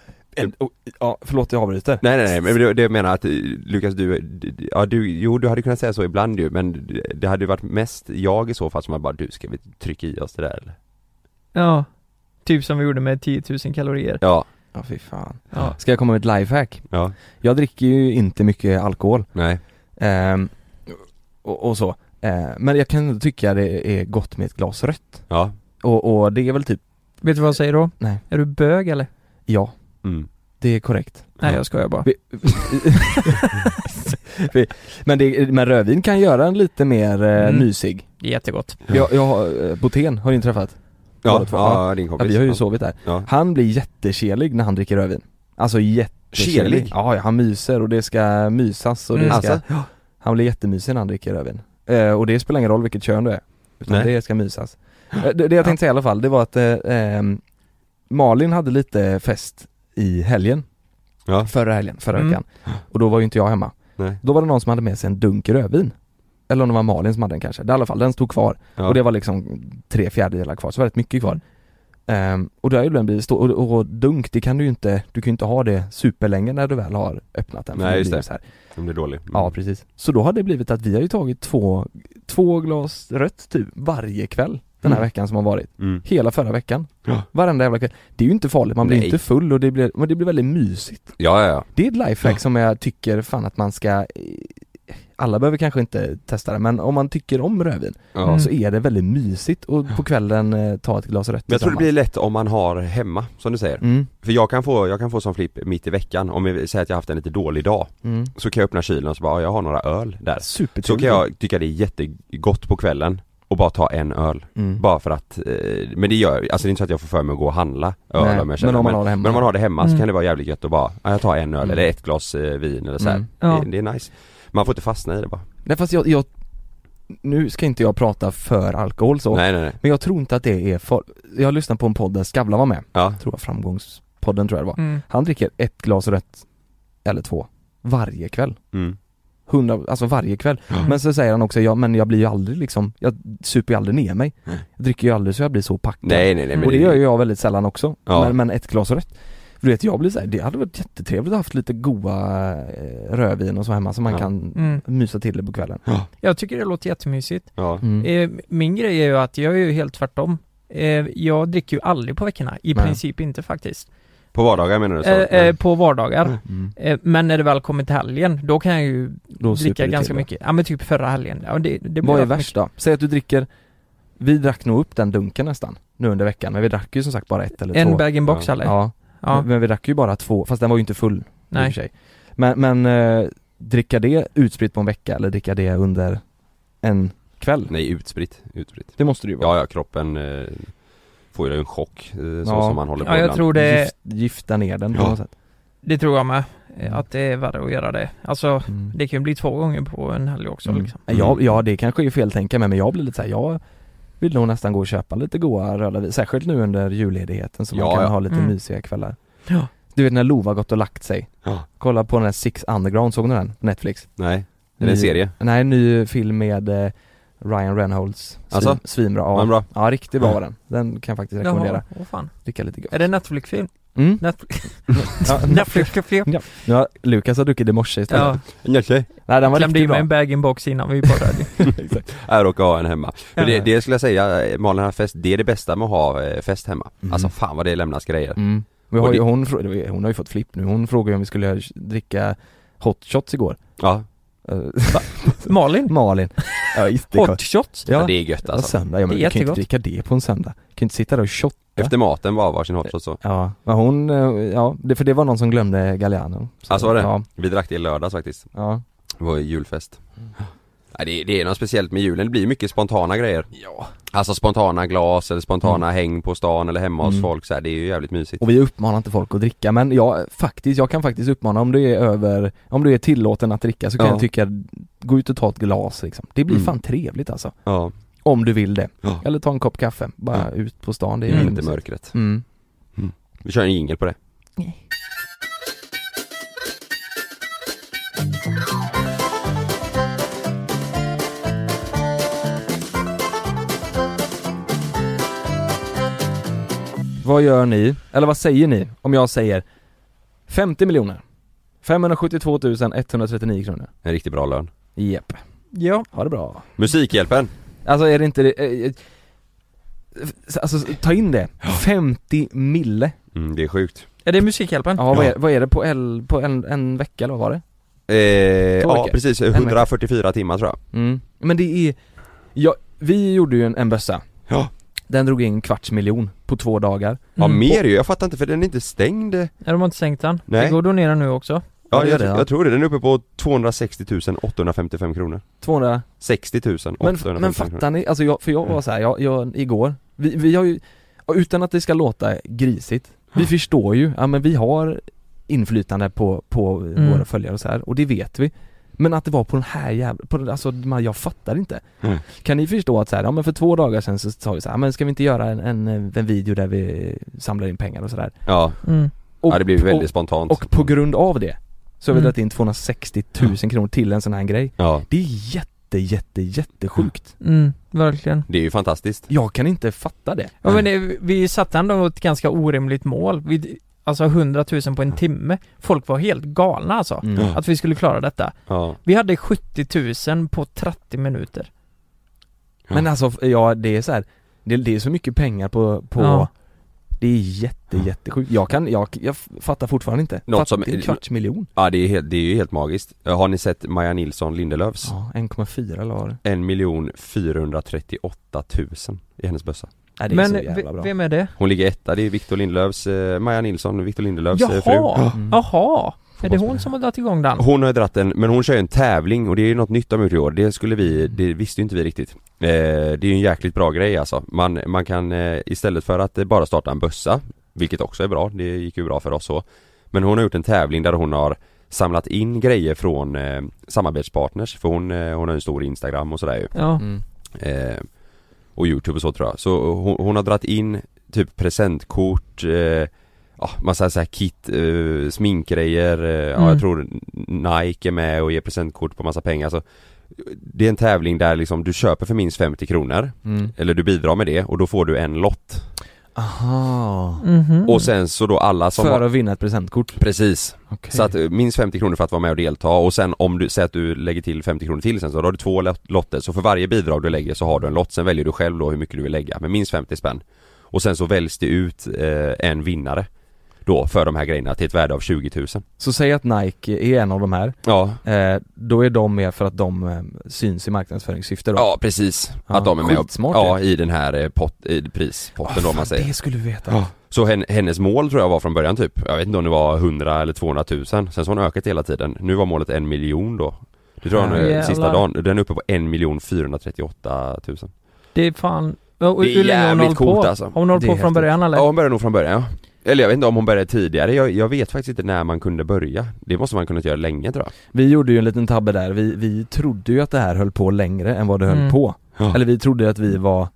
[SPEAKER 1] Ja, förlåt jag avbryter
[SPEAKER 2] Nej nej nej, men det, det jag menar att eh, Lukas du, d- d- ja du, jo du hade kunnat säga så ibland ju men d- det hade ju varit mest jag i så fall som hade bara du ska vi trycka i oss det där eller?
[SPEAKER 3] Ja. Typ som vi gjorde med 10 000 kalorier.
[SPEAKER 2] Ja,
[SPEAKER 1] Ja fy fan
[SPEAKER 3] Ja.
[SPEAKER 1] Ska jag komma med ett lifehack?
[SPEAKER 2] ja,
[SPEAKER 1] Jag dricker ju inte mycket alkohol
[SPEAKER 2] nej,
[SPEAKER 1] ehm, och, och så eh, Men jag kan ändå tycka det är gott med ett glas rött
[SPEAKER 2] ja,
[SPEAKER 1] Och, och det är väl typ,
[SPEAKER 3] Vet du vad jag säger då?
[SPEAKER 1] Nej.
[SPEAKER 3] Är du bög eller?
[SPEAKER 1] ja,
[SPEAKER 2] mm.
[SPEAKER 1] det är korrekt
[SPEAKER 3] Nej jag skojar bara.
[SPEAKER 1] Vi- Vi- men, det, men rödvin kan göra en lite mer eh,
[SPEAKER 3] Mm.
[SPEAKER 1] mysig.
[SPEAKER 3] Det är jättegott.
[SPEAKER 1] Jag, jag har, eh, Botén har ni träffat?
[SPEAKER 2] Ja,
[SPEAKER 1] Båda två,
[SPEAKER 2] ja, din
[SPEAKER 1] Ja,
[SPEAKER 2] kompis
[SPEAKER 1] vi har ju sovit där.
[SPEAKER 2] Ja.
[SPEAKER 1] Han blir jättekelig när han dricker rödvin. Alltså jättekelig.
[SPEAKER 2] Kelig?
[SPEAKER 1] Ja, ja, han myser och det ska mysas och det
[SPEAKER 3] Mm.
[SPEAKER 1] ska,
[SPEAKER 2] Alltså?
[SPEAKER 1] han blir jättemysig när han dricker rödvin. Eh, och det spelar ingen roll vilket kön du är. Utan
[SPEAKER 2] Nej.
[SPEAKER 1] det ska mysas. Eh, det, det jag tänkte säga i alla fall, det var att eh, ehm, Malin hade lite fest i helgen.
[SPEAKER 2] Ja.
[SPEAKER 1] Förra helgen, förra
[SPEAKER 3] Mm.
[SPEAKER 1] veckan. Och då var ju inte jag hemma.
[SPEAKER 2] Nej.
[SPEAKER 1] Då var det någon som hade med sig en dunk rödvin. Eller om det var Malin som hade den kanske. Det, I alla fall, den stod kvar.
[SPEAKER 2] Ja.
[SPEAKER 1] Och det var liksom tre fjärdedelar kvar, så väldigt mycket kvar. Ehm, och då har ju den blivit stor, och, och dunk det kan du ju inte, du kan ju inte ha det superlänge när du väl har öppnat den. för
[SPEAKER 2] Nej,
[SPEAKER 1] blir
[SPEAKER 2] just
[SPEAKER 1] ju
[SPEAKER 2] det.
[SPEAKER 1] Så här.
[SPEAKER 2] Om det är dålig. Mm.
[SPEAKER 1] Ja precis. Så då har det blivit att vi har ju tagit två, två glas rött typ varje kväll den här
[SPEAKER 2] Mm.
[SPEAKER 1] veckan som har varit.
[SPEAKER 2] Mm.
[SPEAKER 1] Hela förra veckan.
[SPEAKER 2] Ja.
[SPEAKER 1] Varenda jävla kväll. Det är ju inte farligt, man blir
[SPEAKER 2] Nej.
[SPEAKER 1] inte full och det blir, men det blir väldigt mysigt.
[SPEAKER 2] ja, ja, ja.
[SPEAKER 1] Det är ett lifehack
[SPEAKER 2] Ja.
[SPEAKER 1] som jag tycker fan att man ska eh, Alla behöver kanske inte testa det men om man tycker om rödvin
[SPEAKER 2] ja.
[SPEAKER 3] Mm.
[SPEAKER 1] så är det väldigt mysigt och på kvällen eh, ta ett glas rött
[SPEAKER 2] Men jag tror det blir
[SPEAKER 1] tillsammans.
[SPEAKER 2] lätt om man har hemma, som du säger.
[SPEAKER 1] mm,
[SPEAKER 2] För jag kan få, jag kan få som flipp mitt i veckan, om vi säger att jag haft en lite dålig dag,
[SPEAKER 1] mm.
[SPEAKER 2] så kan jag öppna kylen och så bara, "Ja, jag har några öl där. Så
[SPEAKER 1] Supertrevligt.
[SPEAKER 2] kan jag tycka det är jättegott på kvällen och bara ta en öl.
[SPEAKER 1] mm.
[SPEAKER 2] Bara för att, eh, men det gör, alltså det är inte så att jag får för mig att gå och handla öl
[SPEAKER 1] Nej,
[SPEAKER 2] om jag känner,
[SPEAKER 1] men om man har det hemma.
[SPEAKER 2] men om man har det hemma så
[SPEAKER 3] Mm.
[SPEAKER 2] kan det vara jävligt gött att bara, ja, jag tar en öl
[SPEAKER 1] Mm.
[SPEAKER 2] eller ett glas eh, vin eller så här.
[SPEAKER 1] Mm.
[SPEAKER 3] Ja.
[SPEAKER 2] Det, det är nice. Man får inte fastna i det bara.
[SPEAKER 1] Nej fast jag, jag Nu ska inte jag prata för alkohol så
[SPEAKER 2] Nej nej nej.
[SPEAKER 1] Men jag tror inte att det är för Jag lyssnade på en podd där Skavlan var med
[SPEAKER 2] Ja.
[SPEAKER 1] Jag tror det var framgångspodden tror jag det var
[SPEAKER 3] Mm.
[SPEAKER 1] Han dricker ett glas rött Eller två Varje kväll
[SPEAKER 2] Mm.
[SPEAKER 1] hundra, alltså varje kväll.
[SPEAKER 2] Ja.
[SPEAKER 1] Men så säger han också, ja men jag blir ju aldrig liksom, jag super ju aldrig ner mig.
[SPEAKER 2] Nej.
[SPEAKER 1] Jag dricker ju aldrig så jag blir så packad.
[SPEAKER 2] Nej nej nej men
[SPEAKER 1] och det gör ju jag väldigt sällan också.
[SPEAKER 2] Ja.
[SPEAKER 1] Men, men ett glas rött. För du vet jag blir såhär, det hade varit jättetrevligt att ha haft lite goa eh, rödvin och så hemma som man
[SPEAKER 2] Ja.
[SPEAKER 1] kan
[SPEAKER 3] Mm.
[SPEAKER 1] mysa till det på kvällen.
[SPEAKER 3] Jag tycker det låter jättemysigt.
[SPEAKER 2] Ja.
[SPEAKER 1] Mm.
[SPEAKER 3] Eh, min grej är ju att jag är ju helt tvärtom. Eh, jag dricker ju aldrig på veckorna. I
[SPEAKER 1] Nej.
[SPEAKER 3] princip inte faktiskt.
[SPEAKER 2] På vardagar menar du så?
[SPEAKER 3] Eh, eh, på vardagar.
[SPEAKER 1] Mm.
[SPEAKER 3] Eh, men när det väl kommer till helgen, då kan jag ju
[SPEAKER 1] Då super
[SPEAKER 3] dricka
[SPEAKER 1] du
[SPEAKER 3] ganska
[SPEAKER 1] till det.
[SPEAKER 3] mycket. Ja men typ förra helgen. Ja, det, det blir
[SPEAKER 1] Vad är
[SPEAKER 3] rätt
[SPEAKER 1] värst då? Säg att du dricker, vi drack nog upp den dunken nästan nu under veckan men vi drack ju som sagt bara ett eller
[SPEAKER 3] mycket. En
[SPEAKER 1] två.
[SPEAKER 3] bag-in-box
[SPEAKER 2] Ja.
[SPEAKER 3] eller? Ja.
[SPEAKER 1] Ja, men vi drack ju bara två, fast den var ju inte full i och
[SPEAKER 3] Nej.
[SPEAKER 1] för sig. Men, men eh, dricka det utspritt på en vecka eller dricka det under en kväll?
[SPEAKER 2] Nej utspritt, utspritt.
[SPEAKER 1] Det måste det ju vara.
[SPEAKER 2] Ja ja kroppen eh, får ju en chock eh, så
[SPEAKER 1] Ja.
[SPEAKER 2] som man håller på
[SPEAKER 3] Ja jag
[SPEAKER 2] ibland.
[SPEAKER 3] tror det,
[SPEAKER 1] Gift, Mm. gifta ner den på
[SPEAKER 2] Ja.
[SPEAKER 1] något sätt.
[SPEAKER 3] det tror jag med. Eh, Att det är värre att göra det. Alltså,
[SPEAKER 1] Mm.
[SPEAKER 3] det kan ju bli två gånger på en helg också
[SPEAKER 1] Mm.
[SPEAKER 3] liksom.
[SPEAKER 1] Ja, ja, det kanske är fel tänka med men jag blir lite såhär, jag vill nog nästan gå och köpa lite goa röda vin, särskilt nu under julledigheten så man
[SPEAKER 2] Ja,
[SPEAKER 1] kan
[SPEAKER 2] ja.
[SPEAKER 1] ha lite
[SPEAKER 3] Mm.
[SPEAKER 1] mysiga kvällar.
[SPEAKER 3] Ja.
[SPEAKER 1] Du vet när Lova gått och lagt sig?
[SPEAKER 2] Ja.
[SPEAKER 1] Kolla på den här Six Underground, såg ni den? På Netflix?
[SPEAKER 2] Nej, det är en
[SPEAKER 1] Ny-
[SPEAKER 2] serie.
[SPEAKER 1] Nej, en ny film med eh, Ryan Reynolds.
[SPEAKER 2] Alltså?
[SPEAKER 1] Svinbra.
[SPEAKER 2] Var den
[SPEAKER 1] Ja.
[SPEAKER 2] bra?
[SPEAKER 1] ja, riktigt bra var den. Den kan jag faktiskt rekommendera.
[SPEAKER 3] Jaha, åh fan.
[SPEAKER 1] Dricka lite gott.
[SPEAKER 3] Är det Netflix-film?
[SPEAKER 1] Mm.
[SPEAKER 3] Netflix?
[SPEAKER 1] Ja,
[SPEAKER 3] Netflix-film?
[SPEAKER 1] nu har Lukas har druckit i morse istället.
[SPEAKER 3] Ja,
[SPEAKER 2] Okej.
[SPEAKER 1] Nej den var
[SPEAKER 3] klämde i
[SPEAKER 1] riktigt
[SPEAKER 3] mig
[SPEAKER 1] bra.
[SPEAKER 3] en bag-in-box innan vi började.
[SPEAKER 2] Jag råkar ha en hemma. Men det,
[SPEAKER 1] Ja.
[SPEAKER 2] det skulle jag säga, eh, Malin har fest, det är det bästa med att ha eh, fest hemma.
[SPEAKER 1] Mm.
[SPEAKER 2] Alltså fan vad det lämnas grejer.
[SPEAKER 1] Mm. Vi har
[SPEAKER 2] Och
[SPEAKER 1] ju,
[SPEAKER 2] det-
[SPEAKER 1] hon, frå- hon har ju fått flipp nu. Hon frågade ju om vi skulle dricka hot shots igår. Eh,
[SPEAKER 2] Ja,
[SPEAKER 3] Malin,
[SPEAKER 1] Malin. Ja, jättekort.
[SPEAKER 3] hot shots.
[SPEAKER 2] Ja.
[SPEAKER 1] Ja,
[SPEAKER 2] det är gött
[SPEAKER 1] ja,
[SPEAKER 2] alltså.
[SPEAKER 1] söndag. Ja, men
[SPEAKER 3] Det är
[SPEAKER 1] vi kan ju inte
[SPEAKER 3] jättegott.
[SPEAKER 1] dricka det på en söndag. Vi kan ju inte sitta där och shotta.
[SPEAKER 2] Efter maten var varsin hotshot så.
[SPEAKER 1] Ja, men hon, eh, ja, det, för det var någon som glömde Galliano. Så,
[SPEAKER 2] Alltså var det?
[SPEAKER 1] Ja,
[SPEAKER 2] Vi drack det i lördags faktiskt.
[SPEAKER 1] ja.
[SPEAKER 2] Det var ju julfest.
[SPEAKER 1] Mm.
[SPEAKER 2] Ja, det, det är något speciellt med julen, det blir mycket spontana grejer. Alltså spontana glas eller spontana häng på stan eller hemma hos
[SPEAKER 1] Mm.
[SPEAKER 2] folk så här, det är ju jävligt mysigt.
[SPEAKER 1] Och vi uppmanar inte folk att dricka men jag faktiskt, jag kan faktiskt uppmana om du är över, om du är tillåten att dricka så kan
[SPEAKER 2] Ja.
[SPEAKER 1] jag tycka, gå ut och ta ett glas liksom. Det blir
[SPEAKER 2] Mm.
[SPEAKER 1] fan trevligt alltså.
[SPEAKER 2] Ja,
[SPEAKER 1] Om du vill det.
[SPEAKER 2] Ja.
[SPEAKER 1] Eller ta en kopp kaffe, bara
[SPEAKER 2] Ja.
[SPEAKER 1] ut på stan, det
[SPEAKER 2] det
[SPEAKER 1] är
[SPEAKER 2] är
[SPEAKER 1] mm.
[SPEAKER 2] inte mörkret.
[SPEAKER 1] Mm.
[SPEAKER 2] Vi kör en jingel på det.
[SPEAKER 1] Vad gör ni, eller vad säger ni om jag säger 50 miljoner 572 139 kronor?
[SPEAKER 2] En riktigt bra lön.
[SPEAKER 1] Jep,
[SPEAKER 3] Ja.
[SPEAKER 1] ha det bra.
[SPEAKER 2] Musikhjälpen!
[SPEAKER 1] Alltså är det inte det, eh, eh, alltså ta in det, 50 mille.
[SPEAKER 2] Mm, det är sjukt.
[SPEAKER 3] Är det Musikhjälpen?
[SPEAKER 1] Ja, vad är, vad är det på, el, på en, en vecka eller vad var det?
[SPEAKER 2] Eh, ja
[SPEAKER 1] veckor.
[SPEAKER 2] precis,
[SPEAKER 1] vecka.
[SPEAKER 2] 144 timmar tror jag.
[SPEAKER 1] Mm. Men det är, ja, vi gjorde ju en, en bössa
[SPEAKER 2] Ja.
[SPEAKER 1] Den drog in kvarts miljon på två dagar
[SPEAKER 2] Ja
[SPEAKER 3] Mm.
[SPEAKER 2] mer ju, jag fattar inte för den är inte stängd.
[SPEAKER 3] Ja, de har inte sänkt den.
[SPEAKER 2] Nej.
[SPEAKER 3] Det går att donera nu också.
[SPEAKER 2] Ja,
[SPEAKER 1] det gör
[SPEAKER 2] jag,
[SPEAKER 1] det, ja.
[SPEAKER 2] jag tror det, den är uppe på 260 855 kronor.
[SPEAKER 1] 200
[SPEAKER 2] 60 855
[SPEAKER 1] Men, men
[SPEAKER 2] kronor.
[SPEAKER 1] fattar ni, alltså jag, för jag
[SPEAKER 2] Mm.
[SPEAKER 1] var så här, jag, jag, igår, vi, vi har ju, och utan att det ska låta grisigt, vi
[SPEAKER 2] Mm.
[SPEAKER 1] förstår ju, ja men vi har inflytande på, på
[SPEAKER 3] Mm.
[SPEAKER 1] våra följare och så här, och det vet vi Men att det var på den här jävla, på den, alltså man, jag fattar inte
[SPEAKER 2] Mm.
[SPEAKER 1] Kan ni förstå att så här, ja men för två dagar sedan så sa vi så här, ja, men ska vi inte göra en, en, en video där vi samlar in pengar och sådär?
[SPEAKER 2] Ja,
[SPEAKER 3] Mm.
[SPEAKER 1] Och,
[SPEAKER 2] ja, det blir väldigt
[SPEAKER 1] och,
[SPEAKER 2] spontant.
[SPEAKER 1] och på grund av det så har vi
[SPEAKER 3] Mm.
[SPEAKER 1] dragit in 260 000
[SPEAKER 2] Mm.
[SPEAKER 1] kronor till en sån här grej
[SPEAKER 2] ja,
[SPEAKER 1] Det är jätte, jätte, jättesjukt
[SPEAKER 3] Mm, verkligen.
[SPEAKER 2] det är ju fantastiskt.
[SPEAKER 1] Jag kan inte fatta det
[SPEAKER 3] Ja, men det, vi satte ändå ett ganska orimligt mål. Vi, alltså 100 000 på en timme. Folk var helt galna alltså.
[SPEAKER 1] Mm.
[SPEAKER 3] Att vi skulle klara detta.
[SPEAKER 2] Ja.
[SPEAKER 3] Vi hade 70 000 på 30 minuter.
[SPEAKER 1] Men alltså, ja det är så här. Det, det är så mycket pengar på, på
[SPEAKER 3] Ja.
[SPEAKER 1] Det är jätte, jättesjukt. Jag kan, jag, jag fattar fortfarande inte.
[SPEAKER 2] Något
[SPEAKER 1] Fatt-
[SPEAKER 2] som-
[SPEAKER 1] det är en kvarts miljon.
[SPEAKER 2] Ja det är, helt, det är ju helt magiskt. Har ni sett Maja Nilsson Lindelöfs?
[SPEAKER 1] Ja, 1,4 eller vad var det?
[SPEAKER 2] 1 miljon 438 000 i hennes bössa.
[SPEAKER 1] Nej, det är
[SPEAKER 3] Men
[SPEAKER 1] så jävla
[SPEAKER 3] v-
[SPEAKER 1] bra.
[SPEAKER 3] vem är det?
[SPEAKER 2] Hon ligger etta, det är Victor Lindelöfs, eh, Maja Nilsson, Victor Lindelöfs eh, fru.
[SPEAKER 3] Jaha!
[SPEAKER 1] Mm.
[SPEAKER 3] Jaha! Är det hon som har dragit igång den?
[SPEAKER 2] Hon har ju dratt en, men hon kör ju en tävling och det är ju något nytt de har gjort i år. Det skulle vi, det visste ju inte vi riktigt. Eh, det är ju en jäkligt bra grej alltså. Man, man kan eh, istället för att eh, bara starta en bössa, vilket också är bra, det gick ju bra för oss så. Men hon har gjort en tävling där hon har samlat in grejer från eh, samarbetspartners, för hon, eh, hon har ju en stor Instagram och sådär ju.
[SPEAKER 3] Ja.
[SPEAKER 1] Mm.
[SPEAKER 2] eh, och youtube och så tror jag. Så eh, hon, hon har dratt in typ presentkort, eh, ja massa så här kit, eh, sminkgrejer, eh, ja
[SPEAKER 3] Mm.
[SPEAKER 2] jag tror Nike är med och ger presentkort på massa pengar så Det är en tävling där liksom du köper för minst 50 kronor,
[SPEAKER 1] Mm.
[SPEAKER 2] eller du bidrar med det och då får du en lott.
[SPEAKER 1] Aha.
[SPEAKER 3] Mhm.
[SPEAKER 2] Och sen så då alla som
[SPEAKER 1] Mm. För
[SPEAKER 2] har
[SPEAKER 1] att vinna ett presentkort.
[SPEAKER 2] Precis,
[SPEAKER 1] Okay.
[SPEAKER 2] så att eh, minst 50 kronor för att vara med och delta och sen om du, säger att du lägger till 50 kronor till sen så då har du två lot- lotter så för varje bidrag du lägger så har du en lott, sen väljer du själv då hur mycket du vill lägga men minst 50 spänn Och sen så väljs det ut eh, en vinnare Då för de här grejerna till ett värde av 20 000
[SPEAKER 1] Så säg att Nike är en av de här,
[SPEAKER 2] Ja,
[SPEAKER 1] eh, då är de med för att de eh, syns i marknadsföringssyfte då?
[SPEAKER 2] ja precis
[SPEAKER 1] Ja,
[SPEAKER 2] att de är med och,
[SPEAKER 1] skitsmart
[SPEAKER 2] ja, i den här eh, pot, i prispotten då om
[SPEAKER 1] fan,
[SPEAKER 2] man säger
[SPEAKER 1] det skulle du veta.
[SPEAKER 2] Så hen, hennes mål tror jag var från början typ, jag vet inte om det var 100 eller 200 000 Sen så har hon ökat hela tiden, nu var målet en miljon då Det tror jag nu är
[SPEAKER 3] Jävlar.
[SPEAKER 2] sista dagen, den är uppe på 1 438 000
[SPEAKER 3] Det är fan... Och,
[SPEAKER 2] Det är
[SPEAKER 3] hur länge har hon
[SPEAKER 2] jävligt
[SPEAKER 3] hållit
[SPEAKER 2] coolt,
[SPEAKER 3] på?
[SPEAKER 2] alltså.
[SPEAKER 3] Har hon hållit
[SPEAKER 1] Det är
[SPEAKER 3] på från
[SPEAKER 1] häftigt.
[SPEAKER 3] början eller?
[SPEAKER 2] Ja hon började nog från början ja. Eller jag vet inte om hon började tidigare, jag, jag vet faktiskt inte när man kunde börja Det måste man kunnat göra länge tror jag
[SPEAKER 1] Vi gjorde ju en liten tabbe där, vi, vi trodde ju att det här höll på längre än vad det höll
[SPEAKER 3] Mm.
[SPEAKER 1] på.
[SPEAKER 2] Ja.
[SPEAKER 1] Eller vi trodde att vi var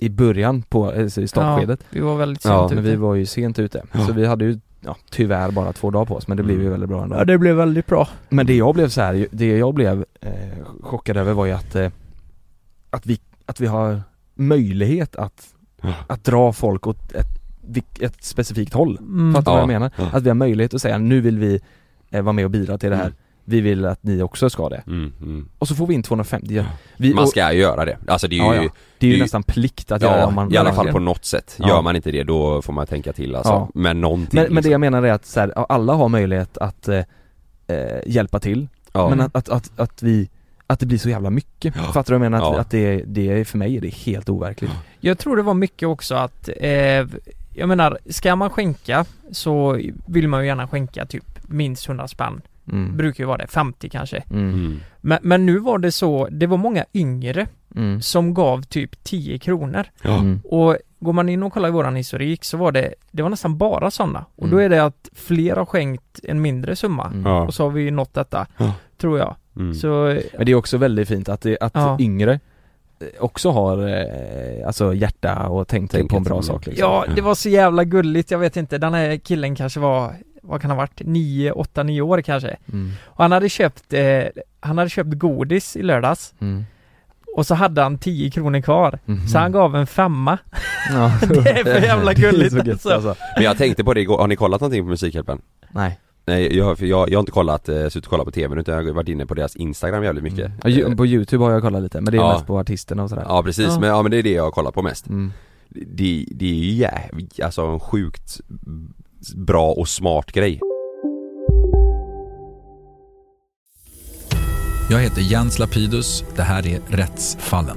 [SPEAKER 1] i början på, alltså i startskedet.
[SPEAKER 3] Ja, vi var väldigt sent
[SPEAKER 2] Ja,
[SPEAKER 3] ute.
[SPEAKER 1] Men vi var ju sent ute, så vi hade ju ja, tyvärr bara två dagar på oss men det
[SPEAKER 2] Mm.
[SPEAKER 1] blev ju väldigt bra ändå
[SPEAKER 3] Ja, det blev väldigt bra.
[SPEAKER 1] Men det jag blev så här, det jag blev eh, chockad över var ju att, eh, att, vi, att vi har möjlighet att,
[SPEAKER 2] Ja.
[SPEAKER 1] att dra folk åt ett, vik- ett specifikt håll
[SPEAKER 3] Mm.
[SPEAKER 1] Fattar du
[SPEAKER 2] Ja.
[SPEAKER 1] vad jag menar?
[SPEAKER 2] Ja.
[SPEAKER 1] Att vi har möjlighet att säga nu vill vi eh, vara med och bidra till det här
[SPEAKER 2] Mm.
[SPEAKER 1] Vi vill att ni också ska det
[SPEAKER 2] mm, mm.
[SPEAKER 1] Och så får vi in 250 vi,
[SPEAKER 2] Man
[SPEAKER 1] och-
[SPEAKER 2] ska ju göra det, alltså det är
[SPEAKER 1] ja,
[SPEAKER 2] ju
[SPEAKER 1] ja. Det är ju
[SPEAKER 2] det-
[SPEAKER 1] nästan plikt att göra
[SPEAKER 2] Ja,
[SPEAKER 1] om man
[SPEAKER 2] i alla
[SPEAKER 1] verkligen-
[SPEAKER 2] fall på något sätt.
[SPEAKER 1] Ja.
[SPEAKER 2] Gör man inte det då får man tänka till alltså.
[SPEAKER 1] Ja.
[SPEAKER 2] Men någonting
[SPEAKER 1] Men, men det jag menar är att så här, ja, alla har möjlighet att eh, eh, hjälpa till
[SPEAKER 2] liksom. Ja.
[SPEAKER 1] Men att, att, att, att vi Att det blir så jävla mycket,
[SPEAKER 2] Ja.
[SPEAKER 1] fattar du vad jag menar? Att,
[SPEAKER 2] Ja.
[SPEAKER 1] att det, det, är- för mig är det helt overkligt
[SPEAKER 3] Jag tror det var mycket också att, eh, jag menar, ska man skänka så vill man ju gärna skänka typ minst 100 spänn.
[SPEAKER 1] mm.
[SPEAKER 3] Brukar ju vara det, 50 kanske.
[SPEAKER 1] Mm.
[SPEAKER 2] Mm.
[SPEAKER 3] Men, men nu var det så, det var många yngre
[SPEAKER 1] Mm.
[SPEAKER 3] som gav typ 10 kronor.
[SPEAKER 2] Ja.
[SPEAKER 1] Mm.
[SPEAKER 3] Och går man in och kollar i våran historik så var det, det var nästan bara sådana. Och då
[SPEAKER 1] Mm.
[SPEAKER 3] är det att fler har skänkt en mindre summa.
[SPEAKER 1] Mm.
[SPEAKER 2] Ja.
[SPEAKER 3] Och så har vi ju nått detta,
[SPEAKER 2] Ja.
[SPEAKER 3] tror jag.
[SPEAKER 2] Mm.
[SPEAKER 3] Så,
[SPEAKER 1] Men det är också väldigt fint att, det, att
[SPEAKER 3] Ja.
[SPEAKER 1] yngre eh, också har eh, alltså hjärta och tänker
[SPEAKER 2] Tänker
[SPEAKER 1] på en bra
[SPEAKER 2] till-
[SPEAKER 1] sak liksom.
[SPEAKER 3] ja, det var så jävla gulligt, jag vet inte. Den här killen kanske var, vad kan han ha varit, 9, 8, 9 år kanske.
[SPEAKER 1] Mm.
[SPEAKER 3] Och han hade köpt, eh, han hade köpt godis i lördags.
[SPEAKER 1] Mm.
[SPEAKER 3] Och så hade han 10 kronor kvar.
[SPEAKER 1] Mhm.
[SPEAKER 3] Så han gav en femma.
[SPEAKER 1] Ja.
[SPEAKER 3] Det är för jävla
[SPEAKER 1] Mm. Det är
[SPEAKER 3] gulligt,
[SPEAKER 1] så gött,
[SPEAKER 3] alltså.
[SPEAKER 2] Men jag tänkte på det igår, har ni kollat någonting på Musikhjälpen?
[SPEAKER 1] Nej
[SPEAKER 2] Nej, jag, för jag, jag har inte kollat, eh, suttit och kollat på TV utan jag har varit inne på deras Instagram jävligt mycket
[SPEAKER 1] Mm.
[SPEAKER 2] Eh,
[SPEAKER 1] Ja, ju- På youtube har jag kollat lite men det är
[SPEAKER 2] Ja.
[SPEAKER 1] mest på artisterna och sådär
[SPEAKER 2] Ja precis,
[SPEAKER 3] Ja.
[SPEAKER 2] Men, ja, men det är det jag har kollat på mest
[SPEAKER 1] Mm.
[SPEAKER 2] Det, det är ju jävligt, alltså en sjukt bra och smart grej
[SPEAKER 4] Jag heter Jens Lapidus. Det här är Rättsfallen.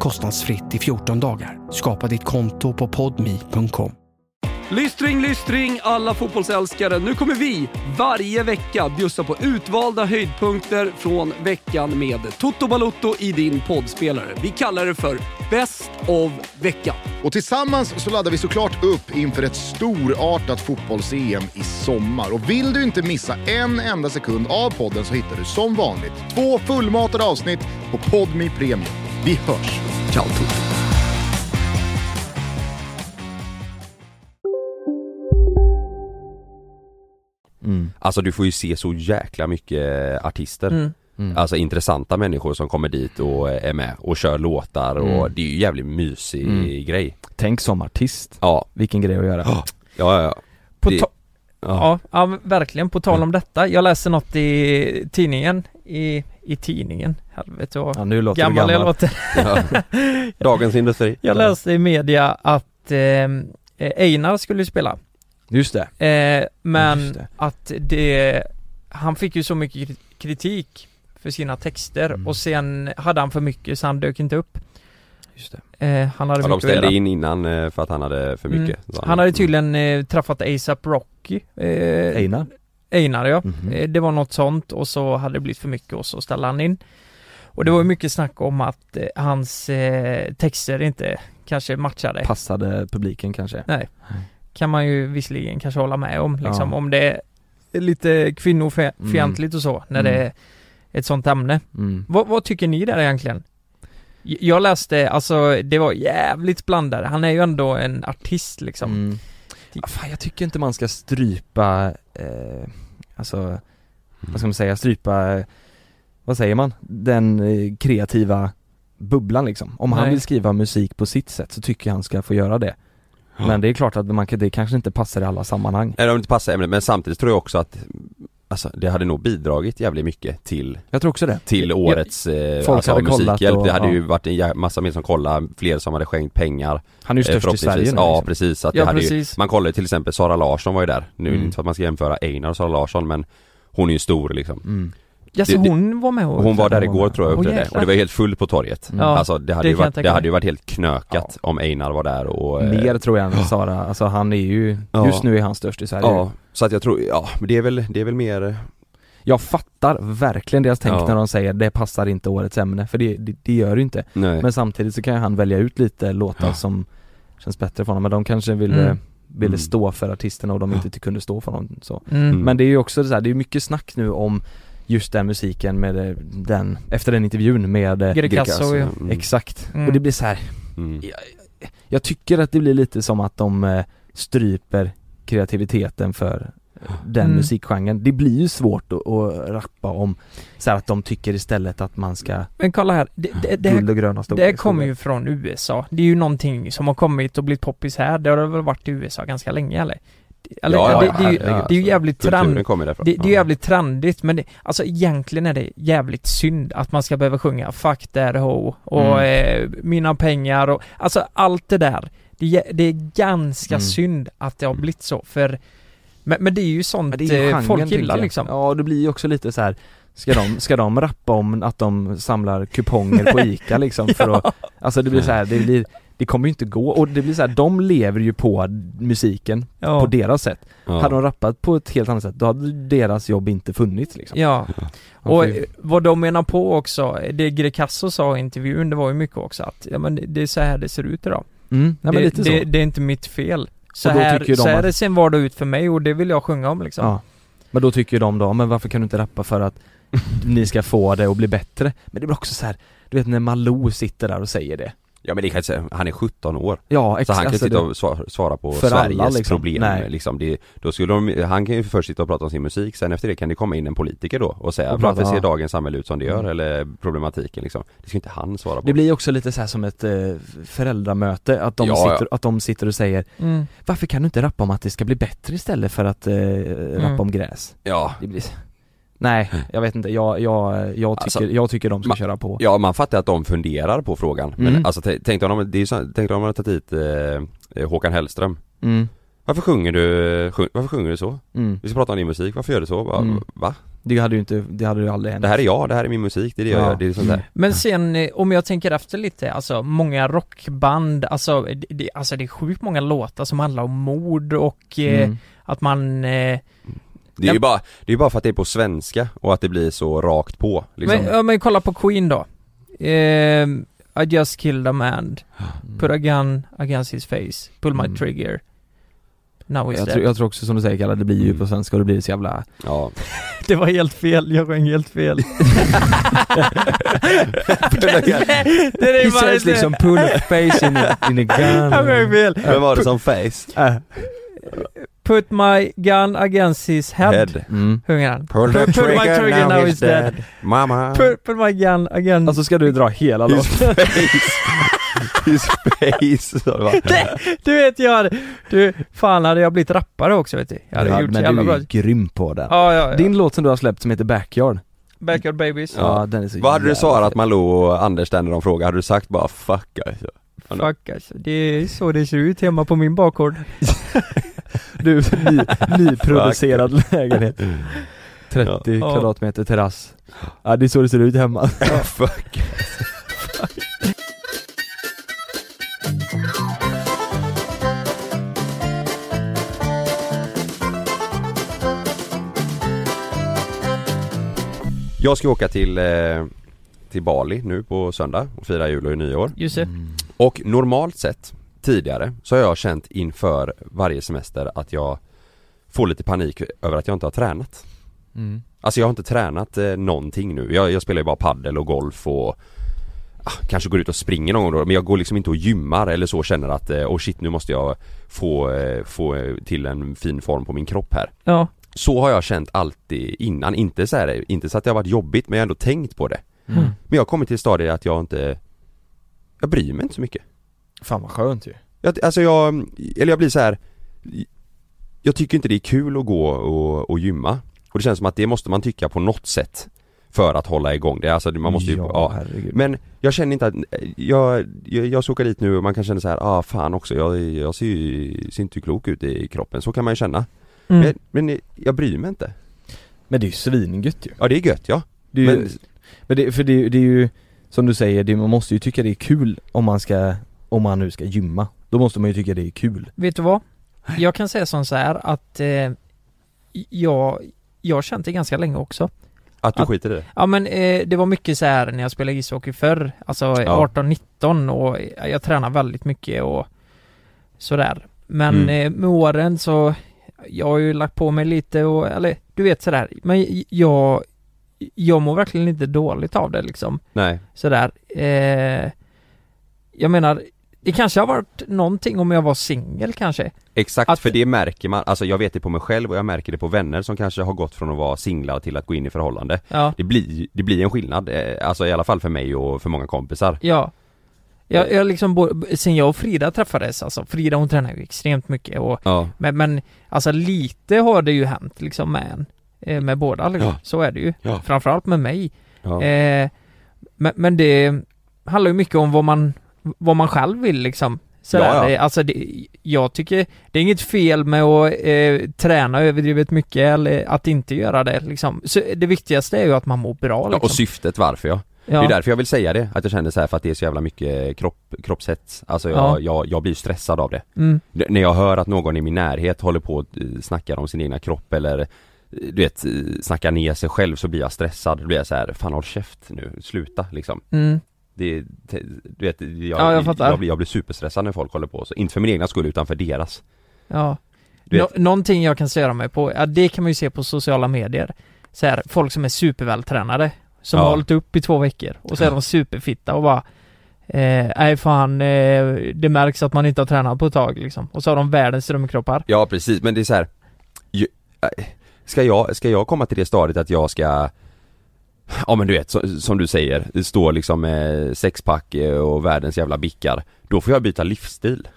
[SPEAKER 5] kostnadsfritt i 14 dagar. Skapa ditt konto på podmi.com.
[SPEAKER 6] Lystring, lystring alla fotbollsälskare. Nu kommer vi varje vecka bjussa på utvalda höjdpunkter från veckan med Toto Balotto i din poddspelare. Vi kallar det för Bäst av veckan.
[SPEAKER 7] Och tillsammans så laddar vi såklart upp inför ett storartat fotbolls-EM i sommar. Och vill du inte missa en enda sekund av podden så hittar du som vanligt två fullmatade avsnitt på Podmi Premium. Vi hörs!
[SPEAKER 6] Ciao Toto.
[SPEAKER 1] Mm.
[SPEAKER 2] Alltså du får ju se så jäkla mycket artister
[SPEAKER 3] Mm.
[SPEAKER 1] Mm.
[SPEAKER 2] Alltså intressanta människor som kommer dit och är med och kör låtar och
[SPEAKER 1] Mm.
[SPEAKER 2] det är ju jävligt mysig
[SPEAKER 1] Mm.
[SPEAKER 2] grej
[SPEAKER 1] Tänk som artist,
[SPEAKER 2] Ja,
[SPEAKER 1] vilken grej att göra
[SPEAKER 2] ja, ja, ja.
[SPEAKER 3] På
[SPEAKER 2] Det-
[SPEAKER 3] ta-
[SPEAKER 2] ja.
[SPEAKER 3] Ja, ja men verkligen. På tal om detta. Jag läste något i tidningen. I, i tidningen. Helvete vad
[SPEAKER 1] Ja nu låter du
[SPEAKER 3] gammal jag låter.
[SPEAKER 2] ja. Dagens Industri
[SPEAKER 3] Jag läste i media att eh, Einar skulle spela.
[SPEAKER 1] Just det
[SPEAKER 3] Eh, men
[SPEAKER 1] Just det.
[SPEAKER 3] att det... Han fick ju så mycket kri- kritik för sina texter
[SPEAKER 1] Mm.
[SPEAKER 3] och sen hade han för mycket så han dök inte upp.
[SPEAKER 1] Just det.
[SPEAKER 3] Eh, han hade
[SPEAKER 2] ja, de
[SPEAKER 3] mycket att göra. Mm.
[SPEAKER 2] ställde in innan eh, för att han Mm. hade
[SPEAKER 1] Mm.
[SPEAKER 2] för mycket sa
[SPEAKER 3] Han hade tydligen eh, träffat ASAP Rocky. Eh,
[SPEAKER 1] Einar?
[SPEAKER 3] Einar ja.
[SPEAKER 1] Mhm.
[SPEAKER 3] Eh, Det var något sånt och så hade det blivit för mycket och så ställde han in. Och det var ju mycket snack om att eh, hans eh, texter inte kanske matchade.
[SPEAKER 1] Passade publiken kanske?
[SPEAKER 3] kan man ju visserligen kanske hålla med om liksom
[SPEAKER 1] Ja.
[SPEAKER 3] om det är lite kvinnofientligt och så när
[SPEAKER 1] Mm.
[SPEAKER 3] det är ett sånt ämne.
[SPEAKER 1] Mm.
[SPEAKER 3] Vad, vad tycker ni där egentligen? J- Jag läste, alltså det var jävligt blandade. Han är ju ändå en artist liksom.
[SPEAKER 1] Mm. Ja, fan, jag tycker inte man ska strypa, eh, alltså, vad ska man säga, strypa, eh, vad säger man? Den eh, kreativa bubblan liksom. Om han
[SPEAKER 3] Nej.
[SPEAKER 1] vill skriva musik på sitt sätt så tycker jag han ska få göra det. Men det är klart att man, kan- det kanske inte passar i alla sammanhang.
[SPEAKER 2] Nej, de inte passar ämnet men samtidigt tror jag också att Alltså det hade nog bidragit jävligt mycket till,
[SPEAKER 1] Jag tror också det.
[SPEAKER 2] till årets eh,
[SPEAKER 1] folk
[SPEAKER 2] alltså,
[SPEAKER 1] hade kollat
[SPEAKER 2] musikhjälp.
[SPEAKER 1] och-
[SPEAKER 2] det hade
[SPEAKER 1] ja.
[SPEAKER 2] ju varit en jä- massa mer som kollade, fler som hade skänkt pengar
[SPEAKER 1] Han är ju störst
[SPEAKER 2] eh,
[SPEAKER 1] i
[SPEAKER 2] förhoppningsvis.
[SPEAKER 1] Sverige nu
[SPEAKER 2] Ja
[SPEAKER 1] liksom.
[SPEAKER 2] precis, att det
[SPEAKER 3] ja
[SPEAKER 2] hade ju,
[SPEAKER 3] precis.
[SPEAKER 2] Man kollar ju till exempel Sara Larsson var ju där, nu är det
[SPEAKER 1] Mm.
[SPEAKER 2] inte så att man ska jämföra Einar och Sara Larsson men Hon är ju stor liksom
[SPEAKER 1] Mm.
[SPEAKER 3] Jaså
[SPEAKER 2] det- det-
[SPEAKER 3] hon var med och...
[SPEAKER 2] Hon var där
[SPEAKER 1] hon var
[SPEAKER 2] igår
[SPEAKER 1] där.
[SPEAKER 2] tror jag
[SPEAKER 3] Åh,
[SPEAKER 2] och uppträdde och
[SPEAKER 3] jäklar.
[SPEAKER 2] det var helt fullt på torget
[SPEAKER 1] Mm.
[SPEAKER 3] Ja.
[SPEAKER 2] Alltså det hade,
[SPEAKER 3] det
[SPEAKER 2] ju
[SPEAKER 3] kan jag
[SPEAKER 2] varit,
[SPEAKER 3] tänka
[SPEAKER 2] det hade
[SPEAKER 3] mig.
[SPEAKER 2] ju varit helt knökat om Einar var där och eh,
[SPEAKER 1] Mer tror jag än Sara, alltså han är ju,
[SPEAKER 2] Ja.
[SPEAKER 1] just nu är han störst i Sverige.
[SPEAKER 2] Ja, så att jag tror, ja men det är väl, det är väl mer
[SPEAKER 1] Jag fattar verkligen deras tänk
[SPEAKER 2] Ja.
[SPEAKER 1] när de säger det passar inte årets ämne, för det, det, det gör det ju inte.
[SPEAKER 2] Nej.
[SPEAKER 1] Men samtidigt så kan ju han välja ut lite låtar
[SPEAKER 2] Ja.
[SPEAKER 1] som känns bättre för honom, men de kanske ville,
[SPEAKER 2] Mm.
[SPEAKER 1] ville
[SPEAKER 2] Mm.
[SPEAKER 1] stå för artisterna och de inte ty- kunde stå för dem så.
[SPEAKER 3] Mm.
[SPEAKER 1] Men det är ju också så här, det är mycket snack nu om just den musiken med eh, den, efter den intervjun med eh,
[SPEAKER 3] Greekazo, Greekazo, ja.
[SPEAKER 2] mm.
[SPEAKER 1] Exakt,
[SPEAKER 3] Mm.
[SPEAKER 1] och det blir så här.
[SPEAKER 2] Mm.
[SPEAKER 1] Jag, jag tycker att det blir lite som att de eh, stryper kreativiteten för den
[SPEAKER 3] Mm.
[SPEAKER 1] musikgenren. Det blir ju svårt att, att rappa om så här att de tycker istället att man ska
[SPEAKER 3] Men kolla här, det, det, det,
[SPEAKER 1] guld
[SPEAKER 3] här,
[SPEAKER 1] och gröna
[SPEAKER 3] det
[SPEAKER 1] skogar.
[SPEAKER 3] här kommer ju från USA. Det är ju någonting som har kommit och blivit poppis här. Det har väl varit i USA ganska länge eller? eller
[SPEAKER 2] Ja, ja,
[SPEAKER 3] det, det, är ju,
[SPEAKER 2] herregud, alltså,
[SPEAKER 3] det är ju jävligt
[SPEAKER 2] Kulturen
[SPEAKER 3] trend,
[SPEAKER 2] kommer
[SPEAKER 1] Typ,
[SPEAKER 2] därifrån.
[SPEAKER 3] Det, det är ju
[SPEAKER 2] Ja.
[SPEAKER 3] jävligt trendigt men det, alltså egentligen är det jävligt synd att man ska behöva sjunga 'Fuck that ho'
[SPEAKER 1] Mm.
[SPEAKER 3] och eh, 'Mina pengar' och alltså allt det där. Det, är jä- det är ganska
[SPEAKER 1] Mm.
[SPEAKER 3] synd att det har blivit så för men, men det är ju sånt eh, folk gillar liksom.
[SPEAKER 1] Ja, det blir ju också lite så här. Ska de, ska de rappa om att de samlar kuponger på ICA liksom för att, alltså det blir så här, det blir, det kommer ju inte gå och det blir så här, de lever ju på musiken
[SPEAKER 3] Ja.
[SPEAKER 1] på deras sätt.
[SPEAKER 2] Ja.
[SPEAKER 1] Hade de rappat på ett helt annat sätt, då hade deras jobb inte funnits liksom.
[SPEAKER 3] Ja,
[SPEAKER 1] Man
[SPEAKER 3] och
[SPEAKER 1] får ju-
[SPEAKER 3] eh, vad de menar på också, eh, det Greekazo sa i intervjun, det var ju mycket också att ja, men det- det är så här det ser ut idag.
[SPEAKER 1] mm, nej, men
[SPEAKER 3] det,
[SPEAKER 1] lite så.
[SPEAKER 3] det, det är inte mitt fel. Så
[SPEAKER 1] Och då
[SPEAKER 3] här,
[SPEAKER 1] tycker ju de
[SPEAKER 3] så här
[SPEAKER 1] att-
[SPEAKER 3] är sin vardag ut för mig och det vill jag sjunga om liksom.
[SPEAKER 1] Ja. Men då tycker ju de då, men varför kan du inte rappa för att ni ska få det och bli bättre? Men det blir också så här, du vet när Malou sitter där och säger det.
[SPEAKER 2] Ja men det kan jag säga, han är 17 år.
[SPEAKER 1] Ja,
[SPEAKER 2] Så
[SPEAKER 1] exakt.
[SPEAKER 2] han kan
[SPEAKER 1] Alltså,
[SPEAKER 2] sitta
[SPEAKER 1] det-
[SPEAKER 2] och sva- svara på
[SPEAKER 1] För alla,
[SPEAKER 2] Sveriges
[SPEAKER 1] liksom.
[SPEAKER 2] problem
[SPEAKER 1] Nej.
[SPEAKER 2] liksom. det, då skulle de, Han kan ju först sitta och prata om sin musik, sen efter det kan det komma in en politiker då och säga
[SPEAKER 1] Och prata,
[SPEAKER 2] varför ser
[SPEAKER 1] ja.
[SPEAKER 2] dagens samhälle ut som det gör
[SPEAKER 1] Mm.
[SPEAKER 2] eller problematiken liksom. Det ska inte han svara på.
[SPEAKER 1] Det blir också lite så här som ett eh, föräldramöte, att de,
[SPEAKER 2] Ja, ja.
[SPEAKER 1] sitter, att de sitter och säger
[SPEAKER 3] Mm.
[SPEAKER 1] Varför kan du inte rappa om att det ska bli bättre istället för att eh, rappa om gräs?
[SPEAKER 2] Ja,
[SPEAKER 1] Det blir... Nej, jag vet inte, jag, jag, jag, tycker,
[SPEAKER 2] Alltså,
[SPEAKER 1] jag tycker de ska
[SPEAKER 2] ma-
[SPEAKER 1] köra på
[SPEAKER 2] ja man fattar att de funderar på frågan.
[SPEAKER 1] Mm.
[SPEAKER 2] Men alltså t- tänk dig om de, det är ju så- tänk dig om de hade tagit hit eh, eh, Håkan Hellström.
[SPEAKER 1] mm,
[SPEAKER 2] Varför sjunger du, sjung, varför sjunger du så?
[SPEAKER 1] mm.
[SPEAKER 2] Vi ska prata om din musik, varför gör du så? Bara,
[SPEAKER 1] Mm.
[SPEAKER 2] Va?
[SPEAKER 1] Det hade ju inte, det hade ju aldrig hänt Mm.
[SPEAKER 2] Det här är jag, det här är min musik, det är det jag
[SPEAKER 1] Ja.
[SPEAKER 2] gör, det är sånt där.
[SPEAKER 3] Men sen eh, om jag tänker efter lite, alltså många rockband, alltså det, det, alltså, det är sjukt många låtar som handlar om mord och eh,
[SPEAKER 1] Mm.
[SPEAKER 3] att man eh,
[SPEAKER 2] Det är ju
[SPEAKER 3] Ja.
[SPEAKER 2] bara, det är ju bara för att det är på svenska och att det blir så rakt på liksom.
[SPEAKER 3] men, ja, men kolla på Queen då. Eh, I just killed a man, put a gun against his face, pull my
[SPEAKER 1] Mm.
[SPEAKER 3] trigger. Now he's
[SPEAKER 1] jag
[SPEAKER 3] dead.
[SPEAKER 1] tror, jag tror också som du säger Kalle, det blir ju
[SPEAKER 2] Mm.
[SPEAKER 1] på svenska och det blir så jävla
[SPEAKER 2] Ja.
[SPEAKER 3] Det var helt fel, jag sjöng helt fel. det, det, det är
[SPEAKER 1] He
[SPEAKER 3] bara
[SPEAKER 1] says liksom pull a face in a, in a
[SPEAKER 3] Jag sjöng
[SPEAKER 1] gun
[SPEAKER 3] fel.
[SPEAKER 2] Vem var det som face?
[SPEAKER 1] Äh.
[SPEAKER 3] Put my gun against his head,
[SPEAKER 1] mm.
[SPEAKER 3] sjunger han.
[SPEAKER 2] Pull the
[SPEAKER 3] Pull my
[SPEAKER 2] trigger,
[SPEAKER 3] trigger, now he's dead.
[SPEAKER 2] Mama.
[SPEAKER 3] Put, put my gun against...
[SPEAKER 1] Alltså ska du dra hela
[SPEAKER 2] His
[SPEAKER 1] låten?
[SPEAKER 2] face. His face. Så det var-
[SPEAKER 3] Du vet jag, du, fan hade jag blivit rappare också vet du. Jag hade
[SPEAKER 1] Ja,
[SPEAKER 3] gjort så
[SPEAKER 1] Men
[SPEAKER 3] jävla
[SPEAKER 1] du
[SPEAKER 3] bra.
[SPEAKER 1] är ju grym på den
[SPEAKER 3] Ja, ja, ja.
[SPEAKER 1] Din låt som du har släppt som heter Backyard
[SPEAKER 3] Backyard Babies.
[SPEAKER 2] Ja.
[SPEAKER 1] den är så
[SPEAKER 2] Vad hade du
[SPEAKER 1] jävla
[SPEAKER 2] svarat
[SPEAKER 1] fet.
[SPEAKER 2] Malou och Anders där när de frågade? Hade du sagt bara 'fuck' alltså?
[SPEAKER 3] Fuck alltså, det är så det ser ut hemma på min bakgård.
[SPEAKER 1] Du, ny, nyproducerad lägenhet 30
[SPEAKER 3] Ja.
[SPEAKER 1] kvadratmeter terrass Ja det är så det ser ut hemma
[SPEAKER 2] Fuck. alltså. Jag ska åka till, eh, till Bali nu på söndag och fira jul och nyår.
[SPEAKER 3] Just det.
[SPEAKER 1] Mm.
[SPEAKER 2] Och normalt sett tidigare så har jag känt inför varje semester att jag får lite panik över att jag inte har tränat.
[SPEAKER 1] Mm.
[SPEAKER 2] Alltså jag har inte tränat eh, någonting nu. Jag, jag spelar ju bara paddel och golf och ah, kanske går ut och springer någon gång då. Men jag går liksom inte och gymmar eller så och känner att eh, oh shit nu måste jag få, eh, få eh, till en fin form på min kropp här.
[SPEAKER 3] Ja.
[SPEAKER 2] Så har jag känt alltid innan, inte så här, inte så att det har varit jobbigt men jag har ändå tänkt på det.
[SPEAKER 1] Mm.
[SPEAKER 2] Men jag har kommit till stadiet att jag inte, jag bryr mig inte så mycket.
[SPEAKER 1] Fan vad skönt ju
[SPEAKER 2] Jag, alltså jag, eller jag blir så här. Jag tycker inte det är kul att gå och, och gymma Och det känns som att det måste man tycka på något sätt För att hålla igång det, alltså man måste ju,
[SPEAKER 1] Ja,
[SPEAKER 2] ja,
[SPEAKER 1] herregud
[SPEAKER 2] Men jag känner inte att, jag, jag, jag ska åka dit nu och man kan känna så här, ah fan också jag, jag ser ju, ser inte klok ut i kroppen, så kan man ju känna
[SPEAKER 3] Mm.
[SPEAKER 2] men, men jag bryr mig inte
[SPEAKER 1] Men det är ju svingött ju
[SPEAKER 2] Ja det är gött ja,
[SPEAKER 1] det är ju,
[SPEAKER 2] men
[SPEAKER 1] men, det, för det, är ju- det är ju Som du säger, det, man måste ju tycka det är kul om man ska Om man nu ska gymma Då måste man ju tycka det är kul
[SPEAKER 3] Vet du vad? Jag kan säga som så här att eh, jag, jag har känt det ganska länge också.
[SPEAKER 2] Att du skiter i det?
[SPEAKER 3] Ja men eh, det var mycket så här när jag spelade ishockey förr, alltså
[SPEAKER 2] Ja.
[SPEAKER 3] 18-19 och eh, jag tränade väldigt mycket och sådär. Men
[SPEAKER 8] Mm.
[SPEAKER 3] eh, med åren så, jag har ju lagt på mig lite och, eller du vet sådär, men jag, jag mår verkligen inte dåligt av det liksom.
[SPEAKER 2] Nej.
[SPEAKER 3] Sådär. Eh, jag menar, det kanske har varit någonting om jag var singel kanske.
[SPEAKER 2] Exakt, för det märker man, alltså jag vet det på mig själv och jag märker det på vänner som kanske har gått från att vara singlar till att gå in i förhållande
[SPEAKER 3] Ja.
[SPEAKER 2] det, blir, det blir en skillnad, eh, alltså i alla fall för mig och för många kompisar
[SPEAKER 3] Ja. Jag, jag liksom, bo- sen jag och Frida träffades, alltså Frida hon tränar ju extremt mycket och
[SPEAKER 2] Ja.
[SPEAKER 3] men, men alltså lite har det ju hänt liksom med en, eh, med båda liksom.
[SPEAKER 8] Ja.
[SPEAKER 3] så är det ju.
[SPEAKER 8] Ja.
[SPEAKER 3] Framförallt med mig.
[SPEAKER 8] Ja.
[SPEAKER 3] Eh, men, men det handlar ju mycket om vad man, vad man själv vill liksom. Så
[SPEAKER 8] Ja, ja.
[SPEAKER 3] Det, alltså det, jag tycker, det är inget fel med att eh, träna överdrivet mycket eller att inte göra det liksom. Så det viktigaste är ju att man mår bra liksom.
[SPEAKER 2] Ja, och syftet varför jag
[SPEAKER 3] Ja.
[SPEAKER 2] Det är därför jag vill säga det, att jag känner så här för att det är så jävla mycket kropp, kroppshets Alltså jag,
[SPEAKER 3] Ja.
[SPEAKER 2] jag, jag blir stressad av det
[SPEAKER 3] Mm.
[SPEAKER 2] N- När jag hör att någon i min närhet håller på och eh, snackar om sin egna kropp eller eh, du vet, eh, snackar ner sig själv så blir jag stressad, då blir jag så här, fan håll käft nu, sluta liksom
[SPEAKER 3] Mm.
[SPEAKER 2] Det, är- te- du vet, jag,
[SPEAKER 3] Ja, jag fattar.
[SPEAKER 2] blir, jag blir superstressad när folk håller på så, inte för min egna skull utan för deras
[SPEAKER 3] Ja.
[SPEAKER 2] Du
[SPEAKER 3] Nå-
[SPEAKER 2] vet-
[SPEAKER 3] någonting jag kan störa mig på, ja, det kan man ju se på sociala medier. Så här, folk som är supervältränade, som
[SPEAKER 8] Ja.
[SPEAKER 3] har hållit upp i två veckor och så är de superfitta och bara Eh, nej fan, eh, det märks att man inte har tränat på ett tag liksom. Och så har de världens drömkroppar.
[SPEAKER 2] Ja precis, men det är så här. ju- äh, Ska jag, ska jag komma till det stadiet att jag ska Ja men du vet, så, som du säger, stå liksom med sexpack eh, och världens jävla bickar Då får jag byta livsstil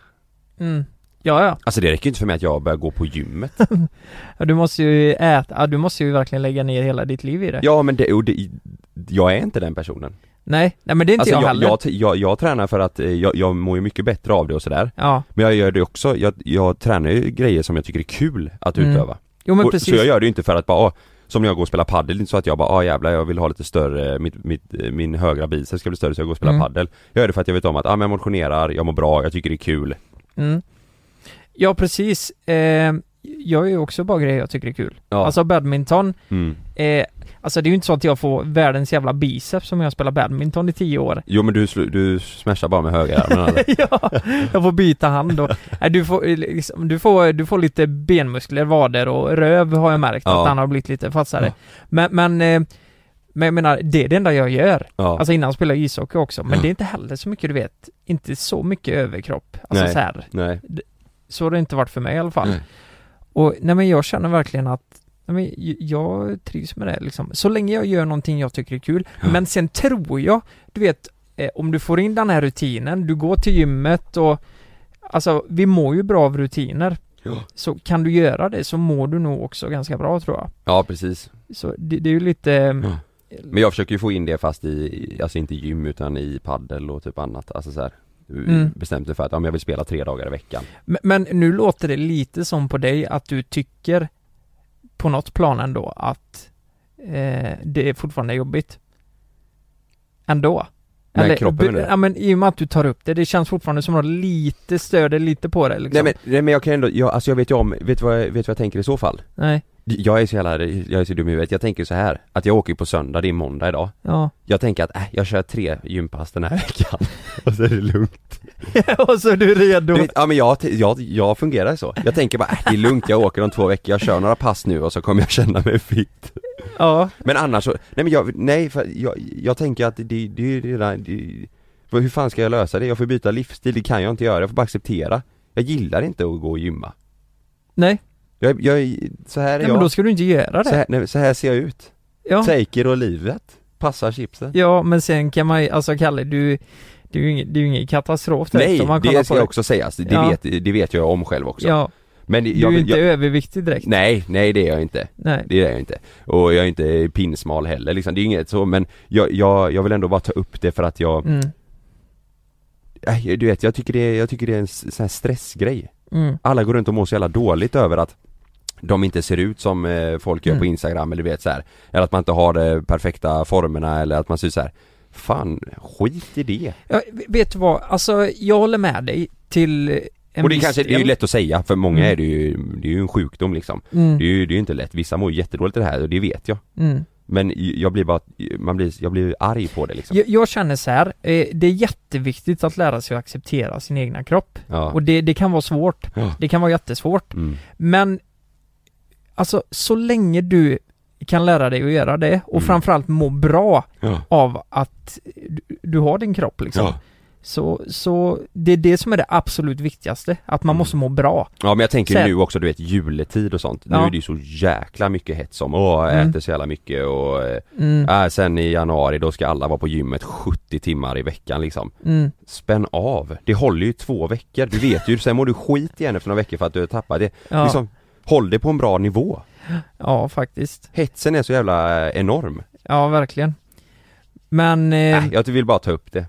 [SPEAKER 3] Mm. Ja, ja.
[SPEAKER 2] Alltså det räcker ju inte för mig att jag börjar gå på gymmet
[SPEAKER 3] Ja, Du måste ju äta, ja, du måste ju verkligen lägga ner hela ditt liv i det.
[SPEAKER 2] Ja men det, och det, jag är inte den personen
[SPEAKER 3] Nej, nej men det är inte
[SPEAKER 2] alltså,
[SPEAKER 3] jag, heller.
[SPEAKER 2] jag, jag, jag tränar för att eh, jag, jag mår ju mycket bättre av det och sådär
[SPEAKER 3] Ja.
[SPEAKER 2] Men jag gör det också, jag, jag tränar ju grejer som jag tycker är kul att
[SPEAKER 3] Mm.
[SPEAKER 2] utöva
[SPEAKER 3] Jo, men
[SPEAKER 2] och,
[SPEAKER 3] precis.
[SPEAKER 2] Så jag gör det ju inte för att bara, ah, som när jag går och spelar padel, det är inte så att jag bara, ah jävlar jag vill ha lite större, mitt, mitt, eh, min högra biceps ska bli större så jag går och spelar
[SPEAKER 3] Mm.
[SPEAKER 2] padel Jag gör det för att jag vet om att, ah, men jag motionerar, jag mår bra, jag tycker det är kul
[SPEAKER 3] Mm. Ja, precis. Eh, jag gör också bara grejer jag tycker är kul.
[SPEAKER 2] Ja.
[SPEAKER 3] Alltså badminton,
[SPEAKER 2] Mm.
[SPEAKER 3] eh, alltså det är ju inte så att jag får världens jävla biceps som jag spelar badminton i tio år.
[SPEAKER 2] Jo men du, slu- du smashar bara med högerarmen eller?
[SPEAKER 3] ja, jag får byta hand och, nej, du, får, eh, liksom, du, får, du får lite benmuskler, vader och röv har jag märkt
[SPEAKER 8] Ja.
[SPEAKER 3] att han har blivit lite fastare. Men, men, eh, men jag menar, det är det enda jag gör.
[SPEAKER 8] Ja. Mm.
[SPEAKER 3] Alltså innan spelade jag ishockey också, men
[SPEAKER 8] Ja.
[SPEAKER 3] det är inte heller så mycket du vet, inte så mycket överkropp. Alltså
[SPEAKER 8] Nej.
[SPEAKER 3] så här.
[SPEAKER 2] Nej.
[SPEAKER 3] D- Så har det inte varit för mig i alla fall.
[SPEAKER 8] Nej.
[SPEAKER 3] Och nej men jag känner verkligen att nej, men j- jag trivs med det liksom. Så länge jag gör någonting jag tycker är kul. Men sen tror jag, du vet, eh, om du får in den här rutinen, du går till gymmet och Alltså vi mår ju bra av rutiner.
[SPEAKER 2] Ja.
[SPEAKER 3] Så kan du göra det så mår du nog också ganska bra tror jag.
[SPEAKER 2] Ja precis
[SPEAKER 3] Så det, det är ju lite eh,
[SPEAKER 2] Men jag försöker ju få in det fast i, i- alltså inte gym utan i paddel och typ annat, alltså så här.
[SPEAKER 3] Mm.
[SPEAKER 2] Bestämt mig för att, ja, men jag vill spela tre dagar i veckan
[SPEAKER 3] Men, men nu låter det lite som på dig att du tycker på något plan ändå att eh, det är fortfarande jobbigt. Ändå.
[SPEAKER 2] Med kroppen,
[SPEAKER 3] du-
[SPEAKER 2] menar du?
[SPEAKER 3] Ja men i och med att du tar upp det, det känns fortfarande som att du lite stöder lite på det
[SPEAKER 2] Nej
[SPEAKER 3] liksom.
[SPEAKER 2] men, nej men jag kan ändå, jag, alltså jag vet ju om, vet du vad, jag- vet du vad jag tänker i så fall?
[SPEAKER 3] Nej.
[SPEAKER 2] Jag är så jävla, jag är så dum i huvudet, jag tänker så här att jag åker på söndag, det är måndag idag
[SPEAKER 3] Ja.
[SPEAKER 2] Jag tänker att, äh, jag kör tre gympass den här veckan och så är det lugnt
[SPEAKER 3] och så är du redo
[SPEAKER 2] du vet, Ja men jag, t- jag, jag fungerar så, jag tänker bara, äh, det är lugnt, jag åker om två veckor, jag kör några pass nu och så kommer jag känna mig fit
[SPEAKER 3] Ja.
[SPEAKER 2] Men annars så, nej men jag, nej för jag, jag tänker att det, det är ju redan, det, vad- hur fan ska jag lösa det? Jag får byta livsstil, det kan jag inte göra, jag får bara acceptera Jag gillar inte att gå och gymma
[SPEAKER 3] Nej.
[SPEAKER 2] jag, jag, så här är
[SPEAKER 3] Nej,
[SPEAKER 2] jag
[SPEAKER 3] men då ska du inte göra det.
[SPEAKER 2] Så här, nej, så här ser jag ut
[SPEAKER 3] Ja.
[SPEAKER 2] Taker och livet Passar chipsen
[SPEAKER 3] Ja men sen kan man ju, alltså Kalle du, det är ju ingen, det är ju ingen katastrof direkt
[SPEAKER 2] Nej,
[SPEAKER 3] om man kollar
[SPEAKER 2] det
[SPEAKER 3] på
[SPEAKER 2] ska jag också sägas, det,
[SPEAKER 3] Ja.
[SPEAKER 2] vet, det vet jag om själv också
[SPEAKER 3] Ja.
[SPEAKER 2] Men det-
[SPEAKER 3] Du är
[SPEAKER 2] jag,
[SPEAKER 3] ju inte
[SPEAKER 2] jag,
[SPEAKER 3] överviktig direkt.
[SPEAKER 2] Nej, nej det är jag inte
[SPEAKER 3] Nej.
[SPEAKER 2] Det är jag inte Och jag är inte pinsmal heller liksom, det är inget så men jag, jag, jag vill ändå bara ta upp det för att jag
[SPEAKER 3] Mm.
[SPEAKER 2] Äh, Du vet, jag tycker det, är- jag tycker det är en s- sån här stressgrej
[SPEAKER 3] Mm.
[SPEAKER 2] Alla går runt och mår så jävla dåligt över att de inte ser ut som eh, folk gör på
[SPEAKER 3] Mm.
[SPEAKER 2] Instagram eller du vet så här. Eller att man inte har de perfekta formerna eller att man ser så här. Fan, skit i det!
[SPEAKER 3] Ja, vet du vad, alltså jag håller med dig till en
[SPEAKER 2] och det
[SPEAKER 3] viss
[SPEAKER 2] kanske, det är ju
[SPEAKER 3] del.
[SPEAKER 2] lätt att säga, för många
[SPEAKER 3] Mm.
[SPEAKER 2] är det ju, det är ju en sjukdom liksom
[SPEAKER 3] Mm.
[SPEAKER 2] det, är ju, det är ju inte lätt, vissa mår ju jättedåligt i det här och det vet jag
[SPEAKER 3] Mm.
[SPEAKER 2] Men jag blir bara, man blir, jag blir arg på det liksom.
[SPEAKER 3] Jag, jag känner så här, eh, det är jätteviktigt att lära sig att acceptera sin egna kropp.
[SPEAKER 2] Ja.
[SPEAKER 3] Och det, det kan vara svårt.
[SPEAKER 2] Ja.
[SPEAKER 3] Det kan vara jättesvårt.
[SPEAKER 2] Mm.
[SPEAKER 3] Men alltså så länge du kan lära dig att göra det och framförallt må bra
[SPEAKER 2] Mm. Ja.
[SPEAKER 3] av att du, du har din kropp liksom.
[SPEAKER 2] Ja.
[SPEAKER 3] Så, så det är det som är det absolut viktigaste, att
[SPEAKER 2] Mm.
[SPEAKER 3] man måste må bra.
[SPEAKER 2] Ja men jag tänker
[SPEAKER 3] Sen-
[SPEAKER 2] nu också du vet juletid och sånt. Nu
[SPEAKER 3] Ja.
[SPEAKER 2] är det ju så jäkla mycket hets om åh jag
[SPEAKER 3] Mm.
[SPEAKER 2] äter så jävla mycket och eh,
[SPEAKER 3] Mm.
[SPEAKER 2] äh, sen i januari då ska alla vara på gymmet 70 timmar i veckan liksom.
[SPEAKER 3] Mm.
[SPEAKER 2] Spänn av! Det håller ju två veckor, du vet ju, sen mår du skit igen efter några veckor för att du har tappat det.
[SPEAKER 3] Ja.
[SPEAKER 2] Liksom, håll det på en bra nivå.
[SPEAKER 3] Ja, faktiskt.
[SPEAKER 2] Hetsen är så jävla eh, enorm.
[SPEAKER 3] Ja, verkligen. Men... eh,
[SPEAKER 2] Äh, Mm. jag vill bara ta upp det.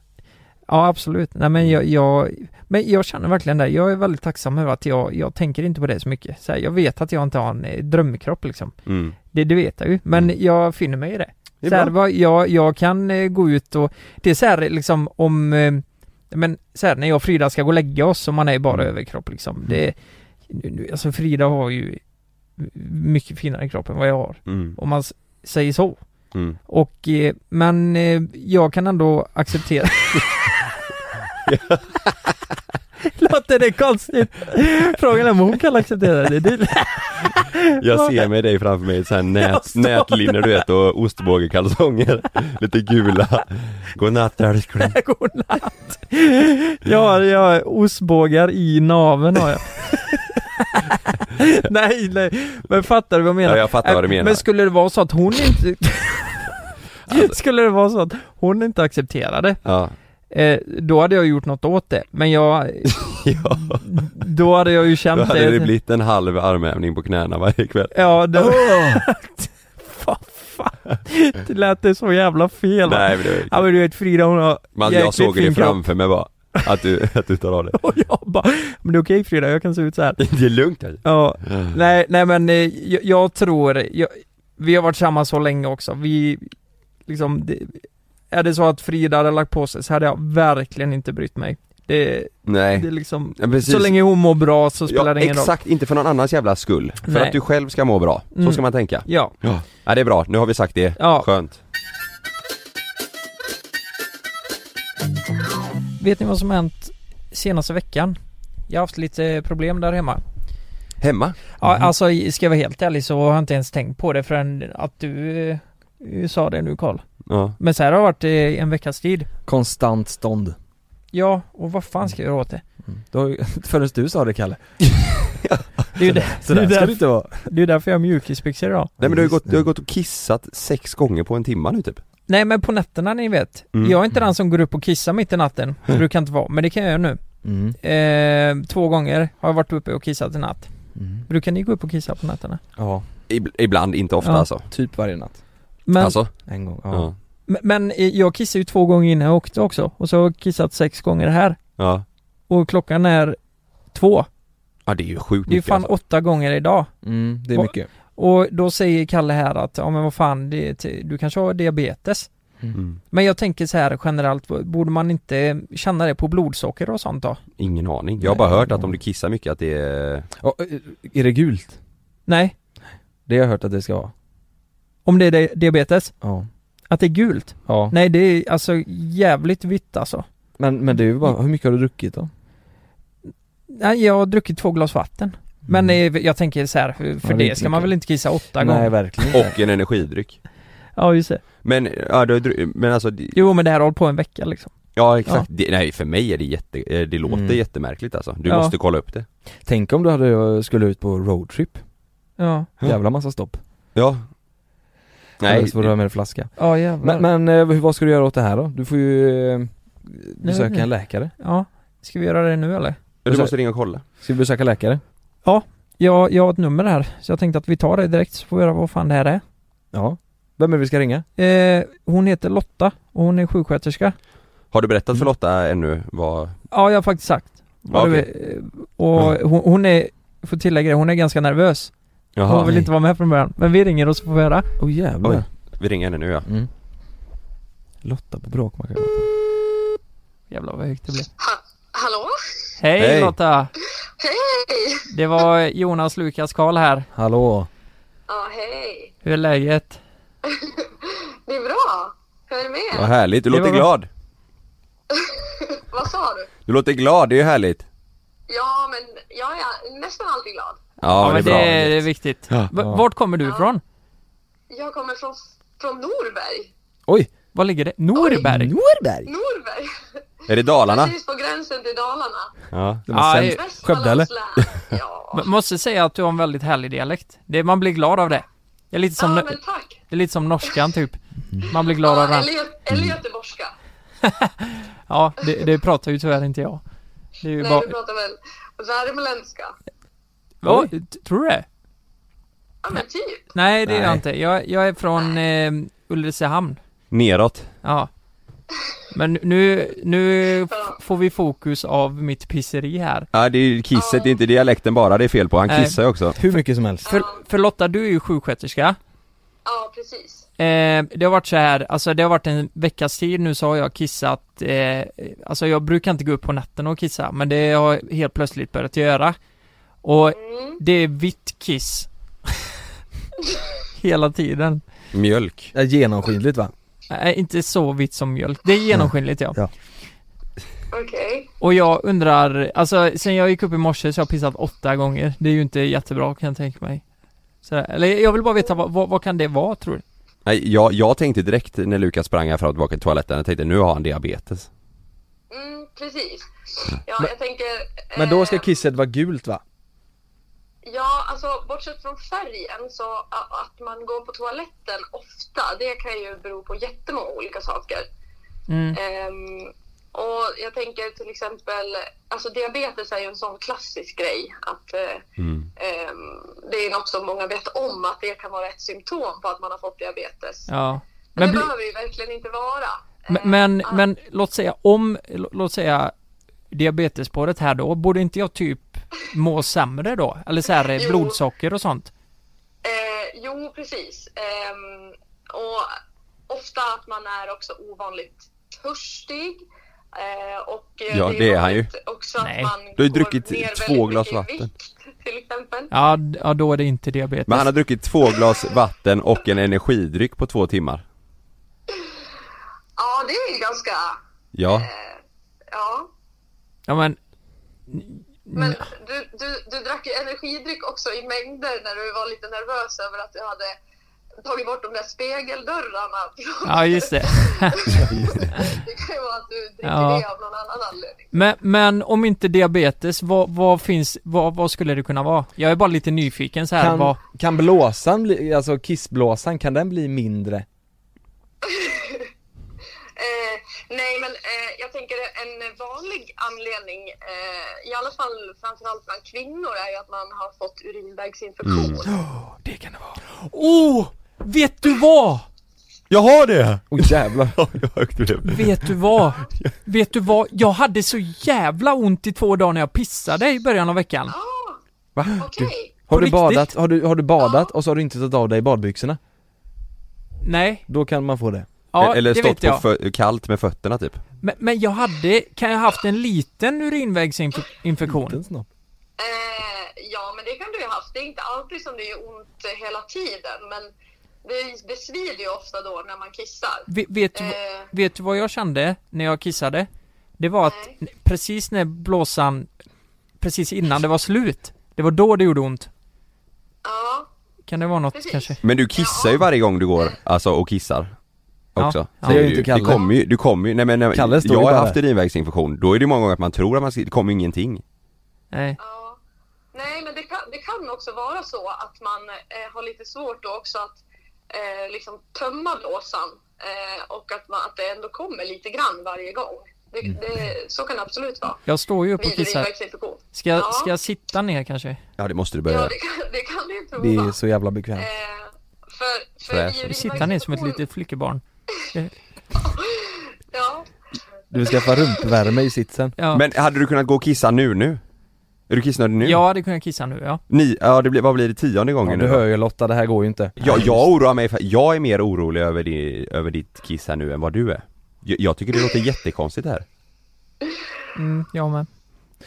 [SPEAKER 3] Ja absolut, nej men jag, jag, men jag känner verkligen det, jag är väldigt tacksam över att jag, jag tänker inte på det så mycket. Så här, jag vet att jag inte har en eh, drömkropp liksom.
[SPEAKER 2] Mm.
[SPEAKER 3] Det, det vet jag ju, men jag finner mig i det.
[SPEAKER 2] Det är
[SPEAKER 3] så här,
[SPEAKER 2] bra.
[SPEAKER 3] vad- jag, jag kan eh, gå ut och, det är så här liksom om, eh, men så här, när jag och Frida ska gå och lägga oss och man är
[SPEAKER 2] Mm.
[SPEAKER 3] bara överkropp liksom. Det, nu- nu- alltså Frida har ju mycket finare kropp än vad jag har.
[SPEAKER 2] Mm.
[SPEAKER 3] Om man s- säger så.
[SPEAKER 2] Mm.
[SPEAKER 3] Och, eh, men eh, jag kan ändå acceptera Låter det konstigt? Frågan är om hon kan acceptera det? det
[SPEAKER 2] Jag ser med dig framför mig i så här nät,
[SPEAKER 3] står där.
[SPEAKER 2] nätlinor du vet och ostbågekalsonger. Lite gula. Godnatt älskling.
[SPEAKER 3] jag har, jag har ostbågar i naveln har jag Nej, nej, men fattar du vad jag menar?
[SPEAKER 2] Ja, jag fattar vad du
[SPEAKER 3] Äh,
[SPEAKER 2] menar.
[SPEAKER 3] Men skulle det vara så att hon inte
[SPEAKER 2] Alltså-
[SPEAKER 3] Skulle det vara så att hon inte accepterade
[SPEAKER 2] Ja.
[SPEAKER 3] eh, Då hade jag gjort något åt det, men jag
[SPEAKER 2] ja.
[SPEAKER 3] Då hade jag ju känt
[SPEAKER 2] Då hade
[SPEAKER 3] det,
[SPEAKER 2] det blivit en halv armhävning på knäna varje kväll.
[SPEAKER 3] Ja, det Fan, fan. Det lät det så jävla fel va?
[SPEAKER 2] Nej, men det var ju-
[SPEAKER 3] Ja men du vet Frida hon har
[SPEAKER 2] Man, jag
[SPEAKER 3] jäkligt
[SPEAKER 2] såg
[SPEAKER 3] fin
[SPEAKER 2] det
[SPEAKER 3] kropp.
[SPEAKER 2] framför mig bara. Att du, att du tar av det.
[SPEAKER 3] Men det är okej Frida, jag kan se ut så här.
[SPEAKER 2] Det är lugnt alltså.
[SPEAKER 3] Ja, nej, nej men eh, jag, jag tror, jag, vi har varit samman så länge också, vi liksom, det, är det så att Frida hade lagt på sig så hade jag verkligen inte brytt mig. Det,
[SPEAKER 2] Nej.
[SPEAKER 3] det är liksom,
[SPEAKER 2] Ja, precis.
[SPEAKER 3] så länge hon mår bra så spelar det ingen roll.
[SPEAKER 2] exakt, inte för någon annans jävla skull. För
[SPEAKER 3] Nej.
[SPEAKER 2] att du själv ska må bra. Så
[SPEAKER 3] Mm.
[SPEAKER 2] ska man tänka.
[SPEAKER 3] Ja.
[SPEAKER 2] ja. Ja, det är bra. Nu har vi sagt det.
[SPEAKER 3] Ja.
[SPEAKER 2] Skönt.
[SPEAKER 3] Vet ni vad som har hänt senaste veckan? Jag har haft lite problem där hemma.
[SPEAKER 2] Hemma?
[SPEAKER 3] Ja,
[SPEAKER 1] Mm.
[SPEAKER 2] Mhm.
[SPEAKER 3] alltså ska jag vara helt ärlig så har jag inte ens tänkt på det förrän att du eh, sa det nu Karl.
[SPEAKER 2] Ja.
[SPEAKER 3] Men så här har det varit eh, en veckas tid.
[SPEAKER 1] Konstant stånd. Mm.
[SPEAKER 3] Ja, och vad fan ska jag göra åt det?
[SPEAKER 1] Då, förrän du sa det Kalle.
[SPEAKER 3] Det är ju där,
[SPEAKER 1] Så där
[SPEAKER 3] det är
[SPEAKER 1] ska
[SPEAKER 3] därför-
[SPEAKER 1] det inte vara.
[SPEAKER 3] det är därför jag har mjukisbyxor idag.
[SPEAKER 2] Nej men du har ju gått, du har gått och kissat sex gånger på en timme nu typ.
[SPEAKER 3] Nej men på nätterna ni vet.
[SPEAKER 2] Mm.
[SPEAKER 3] Jag är inte den som går upp och kissar mitt i natten. Det brukar inte vara, men det kan jag göra nu.
[SPEAKER 1] Mm.
[SPEAKER 3] Eh, två gånger har jag varit uppe och kissat i natt.
[SPEAKER 1] Mm.
[SPEAKER 3] Brukar ni gå upp och kissa på nätterna?
[SPEAKER 1] Ja,
[SPEAKER 2] Ib- ibland, inte ofta
[SPEAKER 3] Ja.
[SPEAKER 2] alltså.
[SPEAKER 1] typ varje natt.
[SPEAKER 3] Men,
[SPEAKER 2] alltså?
[SPEAKER 1] En gång, ja.
[SPEAKER 2] Ja.
[SPEAKER 3] men- men eh, jag kissade ju två gånger innan jag åkte också. Och så har jag kissat sex gånger här.
[SPEAKER 2] Ja.
[SPEAKER 3] Och klockan är två.
[SPEAKER 2] Ja det är ju sjukt
[SPEAKER 3] Det är ju
[SPEAKER 2] mycket
[SPEAKER 3] fan
[SPEAKER 2] alltså.
[SPEAKER 3] åtta gånger idag.
[SPEAKER 1] Mm, det är
[SPEAKER 3] Va-
[SPEAKER 1] mycket.
[SPEAKER 3] Och då säger Kalle här att, ja men vad fan, det, du kanske har diabetes.
[SPEAKER 2] Mm.
[SPEAKER 3] Men jag tänker så här generellt, borde man inte känna det på blodsocker och sånt då?
[SPEAKER 2] Ingen aning. Jag har bara hört att om du kissar mycket att det är...
[SPEAKER 1] Ja, eh, är det gult?
[SPEAKER 3] Nej,
[SPEAKER 1] Det har jag hört att det ska vara.
[SPEAKER 3] om det är di- diabetes,
[SPEAKER 1] Ja.
[SPEAKER 3] att det är gult.
[SPEAKER 1] Ja.
[SPEAKER 3] Nej det är alltså jävligt vitt alltså.
[SPEAKER 1] Men, men det är ju bara, hur mycket har du druckit då?
[SPEAKER 3] Nej, jag har druckit två glas vatten. Men eh, jag tänker så här, för, för
[SPEAKER 1] Ja, det är
[SPEAKER 3] det
[SPEAKER 1] inte
[SPEAKER 3] ska man
[SPEAKER 1] mycket.
[SPEAKER 3] väl inte kissa åtta
[SPEAKER 1] Mm. Nej
[SPEAKER 3] gånger?
[SPEAKER 1] verkligen inte.
[SPEAKER 2] Och en energidryck.
[SPEAKER 3] Ja just det.
[SPEAKER 2] Men, ja, du, har dru- men alltså, det-
[SPEAKER 3] Jo men det här har hållit på en vecka liksom.
[SPEAKER 2] ja exakt. Det, nej för mig är det jätte, eh, det låter
[SPEAKER 1] Mm.
[SPEAKER 2] jättemärkligt alltså. Du
[SPEAKER 3] Ja.
[SPEAKER 2] måste kolla upp det.
[SPEAKER 1] Tänk om du hade, eh, skulle ut på roadtrip,
[SPEAKER 3] Ja,
[SPEAKER 1] jävla massa stopp.
[SPEAKER 2] Ja.
[SPEAKER 1] Eller
[SPEAKER 2] Nej.
[SPEAKER 1] så får du ha med dig flaska.
[SPEAKER 3] ja jävlar.
[SPEAKER 1] Men, men eh, vad ska du göra åt det här då? Du får ju eh,
[SPEAKER 3] vet
[SPEAKER 1] besöka
[SPEAKER 3] jag.
[SPEAKER 1] en läkare.
[SPEAKER 3] Ja, ska vi göra det nu eller?
[SPEAKER 2] Du måste ringa och kolla.
[SPEAKER 1] Ska vi besöka läkare?
[SPEAKER 3] Jag, jag har ett nummer här, så jag tänkte att vi tar det direkt så får vi höra vad fan det här är.
[SPEAKER 1] Ja. Vem är det vi ska ringa?
[SPEAKER 3] Eh, hon heter Lotta och hon är sjuksköterska.
[SPEAKER 2] Har du berättat för Lotta ännu vad...
[SPEAKER 3] Mm. Ja, jag har faktiskt sagt. vad
[SPEAKER 2] Ja,
[SPEAKER 3] du är. Och hon, hon är, får tillägga det, hon är ganska nervös. Hon
[SPEAKER 2] Jaha.
[SPEAKER 3] vill inte vara med från början. Men vi ringer och så får vi höra.
[SPEAKER 1] Åh oh,
[SPEAKER 2] Oj.
[SPEAKER 1] jävlar.
[SPEAKER 2] Vi ringer henne nu ja.
[SPEAKER 1] Mm. Lotta på Bråkmakargatan.
[SPEAKER 3] Jävlar vad högt det blev.
[SPEAKER 8] Hallå?
[SPEAKER 3] Hej,
[SPEAKER 2] Hej.
[SPEAKER 3] Lotta!
[SPEAKER 8] Hej!
[SPEAKER 3] Det var Jonas Lukas Karl här.
[SPEAKER 1] Hallå.
[SPEAKER 8] Ja, hej.
[SPEAKER 3] Hur är läget?
[SPEAKER 8] Hur är det med er?
[SPEAKER 2] Vad härligt, du
[SPEAKER 8] Det
[SPEAKER 2] låter
[SPEAKER 8] var bra.
[SPEAKER 2] glad.
[SPEAKER 8] Vad sa du?
[SPEAKER 2] Du låter glad, det är ju härligt.
[SPEAKER 8] Ja, men jag är nästan alltid glad.
[SPEAKER 2] Ja,
[SPEAKER 3] men
[SPEAKER 2] det är bra.
[SPEAKER 3] det är viktigt.
[SPEAKER 2] Ja.
[SPEAKER 3] V- Vart kommer du ifrån?
[SPEAKER 8] Jag kommer från, från Norberg.
[SPEAKER 3] Oj! Var ligger det? Norberg? Norberg?
[SPEAKER 8] Norberg!
[SPEAKER 2] Är det Dalarna?
[SPEAKER 8] Precis på gränsen till Dalarna.
[SPEAKER 2] Ja.
[SPEAKER 8] Det var sämst. Skövde, eller?
[SPEAKER 3] M- Måste säga att du har en väldigt härlig dialekt. Det, man blir glad av det. Det är lite som,
[SPEAKER 8] Ja, men tack.
[SPEAKER 3] det är lite som norskan typ. Man blir glad av
[SPEAKER 8] Ja,
[SPEAKER 3] den.
[SPEAKER 8] eller, Gö- eller göteborgska.
[SPEAKER 3] Ja, det, det pratar ju tyvärr inte jag. Det är ju
[SPEAKER 8] Nej,
[SPEAKER 3] bara...
[SPEAKER 8] du pratar väl värmländska?
[SPEAKER 3] Ja, t- tror du det?
[SPEAKER 8] Ja, men typ.
[SPEAKER 3] Nej, det är jag
[SPEAKER 2] Nej.
[SPEAKER 3] inte. Jag, jag är från eh, Ulricehamn.
[SPEAKER 2] Neråt.
[SPEAKER 3] Ja. Men nu, nu f- får vi fokus av mitt pisseri här.
[SPEAKER 2] Ja, det är ju kisset, det är inte dialekten bara det är fel på, han
[SPEAKER 3] Nej.
[SPEAKER 2] kissar ju också.
[SPEAKER 3] Hur
[SPEAKER 1] mycket som helst.
[SPEAKER 3] För, för Lotta, du är ju sjuksköterska.
[SPEAKER 8] Ja, precis.
[SPEAKER 3] Eh, det har varit så här, alltså det har varit en veckas tid nu så har jag kissat, eh, alltså jag brukar inte gå upp på natten och kissa, men det har jag helt plötsligt börjat göra. Och
[SPEAKER 8] Mm.
[SPEAKER 3] det är vitt kiss. Hela tiden.
[SPEAKER 2] Mjölk.
[SPEAKER 1] Ja, genomskinligt va?
[SPEAKER 3] Nej, inte så vitt som mjölk. Det är genomskinligt ja.
[SPEAKER 8] Okej.
[SPEAKER 3] Och jag undrar, alltså sen jag gick upp i morse så har jag pissat åtta gånger. Det är ju inte jättebra kan jag tänka mig. Så, eller jag vill bara veta, vad, vad, vad kan det vara tror du?
[SPEAKER 2] Nej, jag, jag tänkte direkt när Lukas sprang här fram och tillbaka till toaletten, jag tänkte nu har han diabetes.
[SPEAKER 8] Mm, precis. Ja,
[SPEAKER 1] Men-
[SPEAKER 8] jag tänker...
[SPEAKER 1] Men då ska kisset vara gult va?
[SPEAKER 8] Ja, alltså bortsett från färgen så a- att man går på toaletten ofta, det kan ju bero på jättemånga olika saker.
[SPEAKER 3] Mm.
[SPEAKER 8] Ehm, och jag tänker till exempel, alltså diabetes är ju en sån klassisk grej att eh, ehm, det är något som många vet om att det kan vara ett symptom på att man har fått diabetes.
[SPEAKER 3] Ja.
[SPEAKER 8] Men,
[SPEAKER 3] Men,
[SPEAKER 8] det
[SPEAKER 3] bli,
[SPEAKER 8] behöver det ju verkligen inte vara. Eh,
[SPEAKER 3] men, men, men låt säga om, lå- låt säga diabetesspåret här då, borde inte jag typ må sämre då? Eller så här eh,
[SPEAKER 8] Jo.
[SPEAKER 3] blodsocker och sånt?
[SPEAKER 8] Eh, jo, precis. Ehm, och ofta att man är också ovanligt törstig. Eh, och eh,
[SPEAKER 2] Ja, det är han
[SPEAKER 8] vanligt
[SPEAKER 2] ju.
[SPEAKER 8] Också att
[SPEAKER 2] Nej.
[SPEAKER 8] man
[SPEAKER 2] Du har ju
[SPEAKER 8] går
[SPEAKER 2] druckit
[SPEAKER 8] ner
[SPEAKER 2] två
[SPEAKER 8] väldigt
[SPEAKER 2] glas
[SPEAKER 8] mycket i
[SPEAKER 2] vatten.
[SPEAKER 8] Vikt, till exempel.
[SPEAKER 3] Ja, d- ja då är det inte diabetes.
[SPEAKER 2] Men han har druckit två glas vatten och en energidryck på två timmar.
[SPEAKER 8] Ja, det är ju ganska...
[SPEAKER 2] Ja.
[SPEAKER 8] Ja.
[SPEAKER 3] Ja men,
[SPEAKER 8] Men du, du, du drack ju energidryck också i mängder när du var lite nervös över att du hade tagit bort de där spegeldörrarna.
[SPEAKER 3] ja just det.
[SPEAKER 8] det kan ju vara att du dricker
[SPEAKER 3] Ja.
[SPEAKER 8] det av någon annan anledning.
[SPEAKER 3] Men, men om inte diabetes, vad, vad finns, vad, vad skulle det kunna vara? Jag är bara lite nyfiken så här,
[SPEAKER 1] Kan,
[SPEAKER 3] vad,
[SPEAKER 1] kan blåsan bli, alltså kissblåsan, kan den bli mindre?
[SPEAKER 8] Eh, nej, men eh, jag tänker en vanlig anledning, eh, i alla fall framförallt bland kvinnor, är ju att man har fått urinvägsinfektion.
[SPEAKER 3] Oh! Mm. Vet du vad?
[SPEAKER 2] Jag har det!
[SPEAKER 1] Åh oh, jävlar!
[SPEAKER 2] jag högt blev.
[SPEAKER 3] Vet du vad? Vet du vad? Jag hade så jävla ont i två dagar när jag pissade i början av veckan.
[SPEAKER 1] Va?
[SPEAKER 8] Okej.
[SPEAKER 3] På
[SPEAKER 1] Har du
[SPEAKER 3] riktigt?
[SPEAKER 1] badat, har du, har du badat och så har du inte tagit av dig badbyxorna?
[SPEAKER 3] Nej.
[SPEAKER 1] Då kan man få det
[SPEAKER 3] Ja,
[SPEAKER 2] Eller
[SPEAKER 3] det
[SPEAKER 2] stått
[SPEAKER 3] vet
[SPEAKER 2] på
[SPEAKER 3] jag.
[SPEAKER 2] fö- kallt med fötterna typ.
[SPEAKER 3] Men, men jag hade, kan jag haft en liten urinvägsinfektion?
[SPEAKER 8] Eh, ja, men det kan du ju ha haft. Det är inte alltid som det gör ont eh, hela tiden, men det, det svider ju ofta då när man kissar.
[SPEAKER 3] Ve- Vet, du-
[SPEAKER 8] Eh.
[SPEAKER 3] vet du vad jag kände när jag kissade? Det var att precis när blåsan, precis innan det var slut, det var då det gjorde ont.
[SPEAKER 8] Ja,
[SPEAKER 3] Kan det vara något kanske?
[SPEAKER 2] Men du kissar ju varje gång du går, alltså och kissar.
[SPEAKER 3] Ja.
[SPEAKER 2] Också.
[SPEAKER 3] Ja.
[SPEAKER 2] Så
[SPEAKER 3] Det gör
[SPEAKER 2] är
[SPEAKER 3] inte
[SPEAKER 2] ju-
[SPEAKER 3] Kalle.
[SPEAKER 2] Det kommer ju, du kommer ju, nej men nej,
[SPEAKER 1] Kalle står
[SPEAKER 2] jag
[SPEAKER 1] ju
[SPEAKER 2] har
[SPEAKER 1] bara
[SPEAKER 2] haft
[SPEAKER 1] där.
[SPEAKER 2] urinvägsinfektion, då är det ju många gånger att man tror att man ska, det kommer ingenting.
[SPEAKER 3] Nej.
[SPEAKER 8] Nej, men det kan, det kan också vara så att man eh, har lite svårt då också att eh, liksom tömma blåsan eh, och att, man, att det ändå kommer lite grann varje gång. Det, det, så kan det absolut vara.
[SPEAKER 3] Jag står ju upp och
[SPEAKER 8] Vid
[SPEAKER 3] kissar.
[SPEAKER 8] urinvägsinfektion.
[SPEAKER 3] Ska, jag-
[SPEAKER 8] Ja.
[SPEAKER 3] ska jag sitta ner kanske?
[SPEAKER 2] Ja det måste du
[SPEAKER 8] Ja, det kan, det kan du ju prova.
[SPEAKER 1] eh,
[SPEAKER 8] Eh.
[SPEAKER 1] Det är så jävla bekvämt
[SPEAKER 8] För, för i
[SPEAKER 3] Fräs. Sitta ner som ett litet flickebarn.
[SPEAKER 8] Ja,
[SPEAKER 1] Du vill skaffa rumpvärme i sitsen
[SPEAKER 2] Men hade du kunnat gå och kissa nu nu? Är du kissnödig nu?
[SPEAKER 3] Jag hade kunnat kissa nu ja.
[SPEAKER 2] Ni, ja det blir, vad blir det, tionde gången
[SPEAKER 1] Ja,
[SPEAKER 2] nu
[SPEAKER 1] du
[SPEAKER 2] då? Mm.
[SPEAKER 1] hör ju Lotta, det här går ju inte
[SPEAKER 2] Ja, jag oroar mig för, jag är mer orolig över, di, över ditt kiss här nu än vad du är Jag, jag tycker det låter jättekonstigt här
[SPEAKER 3] Mm, jag med.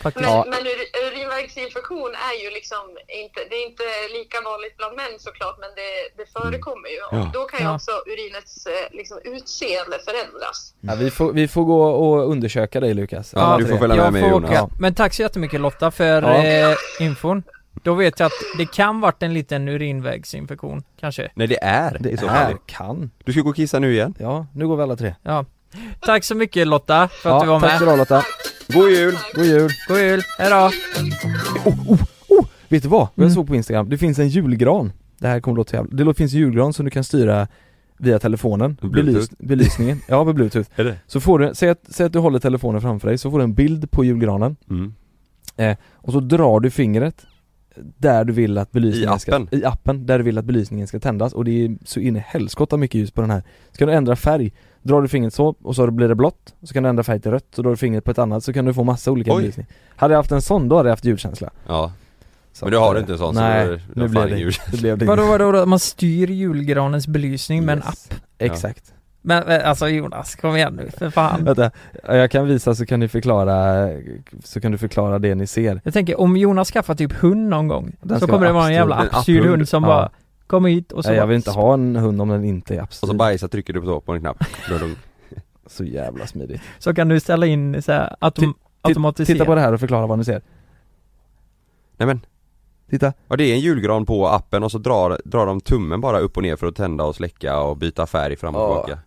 [SPEAKER 3] Faktiskt.
[SPEAKER 8] men, men ur- urinvägs, erektilfunktion är ju liksom inte, det är inte lika vanligt bland män såklart, men det, det förekommer ju.
[SPEAKER 1] Ja.
[SPEAKER 8] Och då kan ju
[SPEAKER 1] Ja.
[SPEAKER 8] också urinets eh, liksom, utseende förändras.
[SPEAKER 1] Ja, vi, får, vi får gå och undersöka dig Lukas Alla tre.
[SPEAKER 3] Jag får åka. Men tack så jättemycket Lotta för
[SPEAKER 1] Ja.
[SPEAKER 3] eh, infon. Då vet jag att det kan varit en liten urinvägsinfektion, kanske.
[SPEAKER 2] Nej det är
[SPEAKER 1] Det
[SPEAKER 2] i så
[SPEAKER 1] är,
[SPEAKER 2] fall.
[SPEAKER 1] kan.
[SPEAKER 2] Du ska gå och kissa nu igen?
[SPEAKER 1] Ja, nu går vi alla tre
[SPEAKER 3] Ja. Tack så mycket Lotta för att
[SPEAKER 1] Ja,
[SPEAKER 3] du var med.
[SPEAKER 1] tack så bra, Lotta.
[SPEAKER 2] God jul!
[SPEAKER 1] God jul!
[SPEAKER 3] God jul! Hejdå!
[SPEAKER 1] Vet du vad? Jag
[SPEAKER 3] Mm.
[SPEAKER 1] såg på Instagram, det finns en julgran Det här kommer låta jävligt, det lå- finns julgran som du kan styra via telefonen,
[SPEAKER 2] Bluetooth.
[SPEAKER 1] Belys, belysningen, ja med bluetooth
[SPEAKER 2] Är det?
[SPEAKER 1] Så får du, säg att, säg att du håller telefonen framför dig, så får du en bild på julgranen
[SPEAKER 2] Mm.
[SPEAKER 1] eh, Och så drar du fingret där du vill att belysningen
[SPEAKER 2] I
[SPEAKER 1] ska,
[SPEAKER 2] appen?
[SPEAKER 1] I appen, där du vill att belysningen ska tändas och det är så in i helskotta mycket ljus på den här Ska du ändra färg, drar du fingret så och så blir det blått, så kan du ändra färg till rött, så drar du fingret på ett annat så kan du få massa olika
[SPEAKER 2] Oj.
[SPEAKER 1] belysning Hade jag haft en sån då hade jag haft julkänsla
[SPEAKER 2] Ja.
[SPEAKER 1] Så
[SPEAKER 2] men du
[SPEAKER 1] att,
[SPEAKER 2] har du
[SPEAKER 1] eh,
[SPEAKER 2] inte en sån
[SPEAKER 1] nej,
[SPEAKER 2] så då är
[SPEAKER 1] nu
[SPEAKER 2] fan
[SPEAKER 1] blev det-
[SPEAKER 2] ingen jul.
[SPEAKER 1] det blev det
[SPEAKER 3] Vadå, vadå, vadå, man styr julgranens belysning med en app?
[SPEAKER 1] Exakt.
[SPEAKER 3] Men eh, alltså Jonas, kom igen nu, för fan.
[SPEAKER 1] Mm. Vänta, jag kan visa så kan ni förklara, så kan du förklara det ni ser
[SPEAKER 3] Jag tänker, om Jonas skaffar typ hund någon gång,
[SPEAKER 1] Den
[SPEAKER 3] så
[SPEAKER 1] ska
[SPEAKER 3] kommer det vara en
[SPEAKER 1] absolut-
[SPEAKER 3] jävla
[SPEAKER 1] en
[SPEAKER 3] appstyrd
[SPEAKER 1] apphund.
[SPEAKER 3] hund som
[SPEAKER 1] Ja.
[SPEAKER 3] bara Kom hit och så
[SPEAKER 1] Nej, jag
[SPEAKER 3] bara-
[SPEAKER 1] vill inte ha en hund om den inte är
[SPEAKER 2] Och så
[SPEAKER 1] abstinent
[SPEAKER 2] bajsar trycker du på, på en knapp. Bludung.
[SPEAKER 1] Så jävla smidigt
[SPEAKER 3] Så kan du ställa in så här, autom- automatisera
[SPEAKER 1] Titta på det här och förklara vad ni ser
[SPEAKER 2] Nej men.
[SPEAKER 1] Titta.
[SPEAKER 2] Ja det är en julgran på appen och så drar, drar de tummen bara upp och ner för att tända och släcka och byta färg fram och
[SPEAKER 1] Ja.
[SPEAKER 2] tillbaka.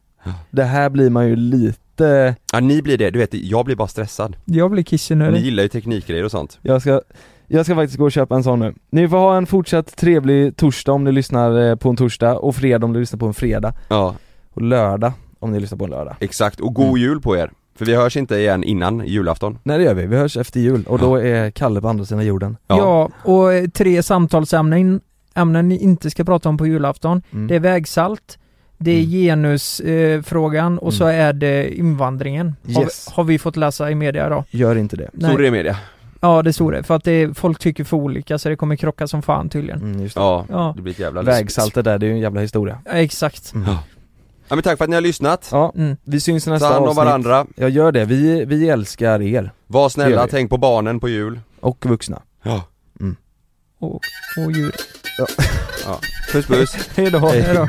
[SPEAKER 1] Det här blir man ju lite
[SPEAKER 2] Ja ni blir det, du vet jag blir bara stressad.
[SPEAKER 3] Jag blir
[SPEAKER 2] Ni
[SPEAKER 3] kissnödig
[SPEAKER 2] gillar ju teknikgrejer och sånt.
[SPEAKER 1] Jag ska, jag ska faktiskt gå och köpa en sån nu Ni får ha en fortsatt trevlig torsdag om ni lyssnar eh, på en torsdag och fredag om ni lyssnar på en fredag
[SPEAKER 2] Ja.
[SPEAKER 1] Och lördag om ni lyssnar på en lördag
[SPEAKER 2] Exakt, och
[SPEAKER 1] Mm.
[SPEAKER 2] god jul på er. För vi hörs inte igen innan julafton.
[SPEAKER 1] Nej det gör vi, vi hörs efter jul och då är Kalle på andra sidan jorden
[SPEAKER 3] ja. och eh, tre samtalsämnen ämnen ni inte ska prata om på julafton.
[SPEAKER 1] Mm.
[SPEAKER 3] Det är vägsalt, det är genusfrågan eh, frågan, och så är det invandringen.
[SPEAKER 1] Mm. Yes.
[SPEAKER 3] Har, har vi fått läsa i media idag.
[SPEAKER 1] Gör inte det
[SPEAKER 3] Nej.
[SPEAKER 2] Stod det i media?
[SPEAKER 3] Ja, det står det. För att det är, folk tycker för olika så det kommer krocka som fan tydligen.
[SPEAKER 1] Mm, just det.
[SPEAKER 2] Ja,
[SPEAKER 3] Ja.
[SPEAKER 2] det blir ett jävla
[SPEAKER 1] Vägsaltet där, det är ju en jävla historia
[SPEAKER 3] Ja, exakt.
[SPEAKER 1] Mm.
[SPEAKER 2] Ja. ja men tack för att ni har lyssnat.
[SPEAKER 1] Ja,
[SPEAKER 3] Mm.
[SPEAKER 1] vi syns i nästa
[SPEAKER 2] Ta hand om
[SPEAKER 1] avsnitt.
[SPEAKER 2] varandra.
[SPEAKER 1] Jag gör det, vi, vi älskar er
[SPEAKER 2] Var
[SPEAKER 1] Det gör
[SPEAKER 2] snälla,
[SPEAKER 1] vi.
[SPEAKER 2] tänk på barnen på jul.
[SPEAKER 1] och vuxna
[SPEAKER 2] Ja.
[SPEAKER 3] Och, och djur.
[SPEAKER 2] ja. Puss puss.
[SPEAKER 1] Hejdå!
[SPEAKER 3] Hej då.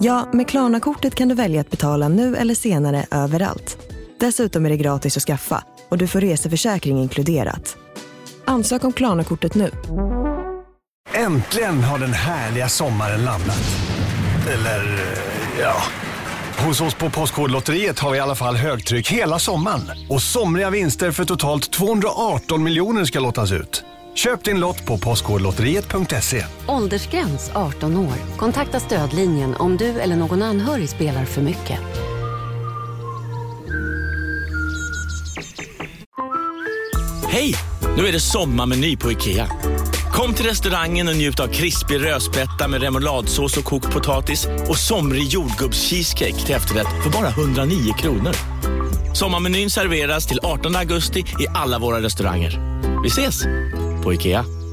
[SPEAKER 9] Ja, med Klarna-kortet kan du välja att betala nu eller senare överallt. Dessutom är det gratis att skaffa och du får reseförsäkring inkluderat. Ansök om Klarna-kortet nu.
[SPEAKER 10] Äntligen har den härliga sommaren landat. Eller, eh, ja. Hos oss på Postkodlotteriet har vi i alla fall högtryck hela sommaren. Och somriga vinster för totalt 218 miljoner ska lottas ut. Köp din lott på postkodlotteriet.se.
[SPEAKER 11] Åldersgräns 18 år. Kontakta stödlinjen om du eller någon anhörig spelar för mycket.
[SPEAKER 12] Hej! Nu är det sommarmeny på IKEA. Kom till restaurangen och njut av krispig rödspätta med remouladsås och kokt potatis och somrig jordgubbscheesecake till efterrätt för bara 109 kronor. Sommarmenyn serveras till 18 augusti i alla våra restauranger. Vi ses! På IKEA.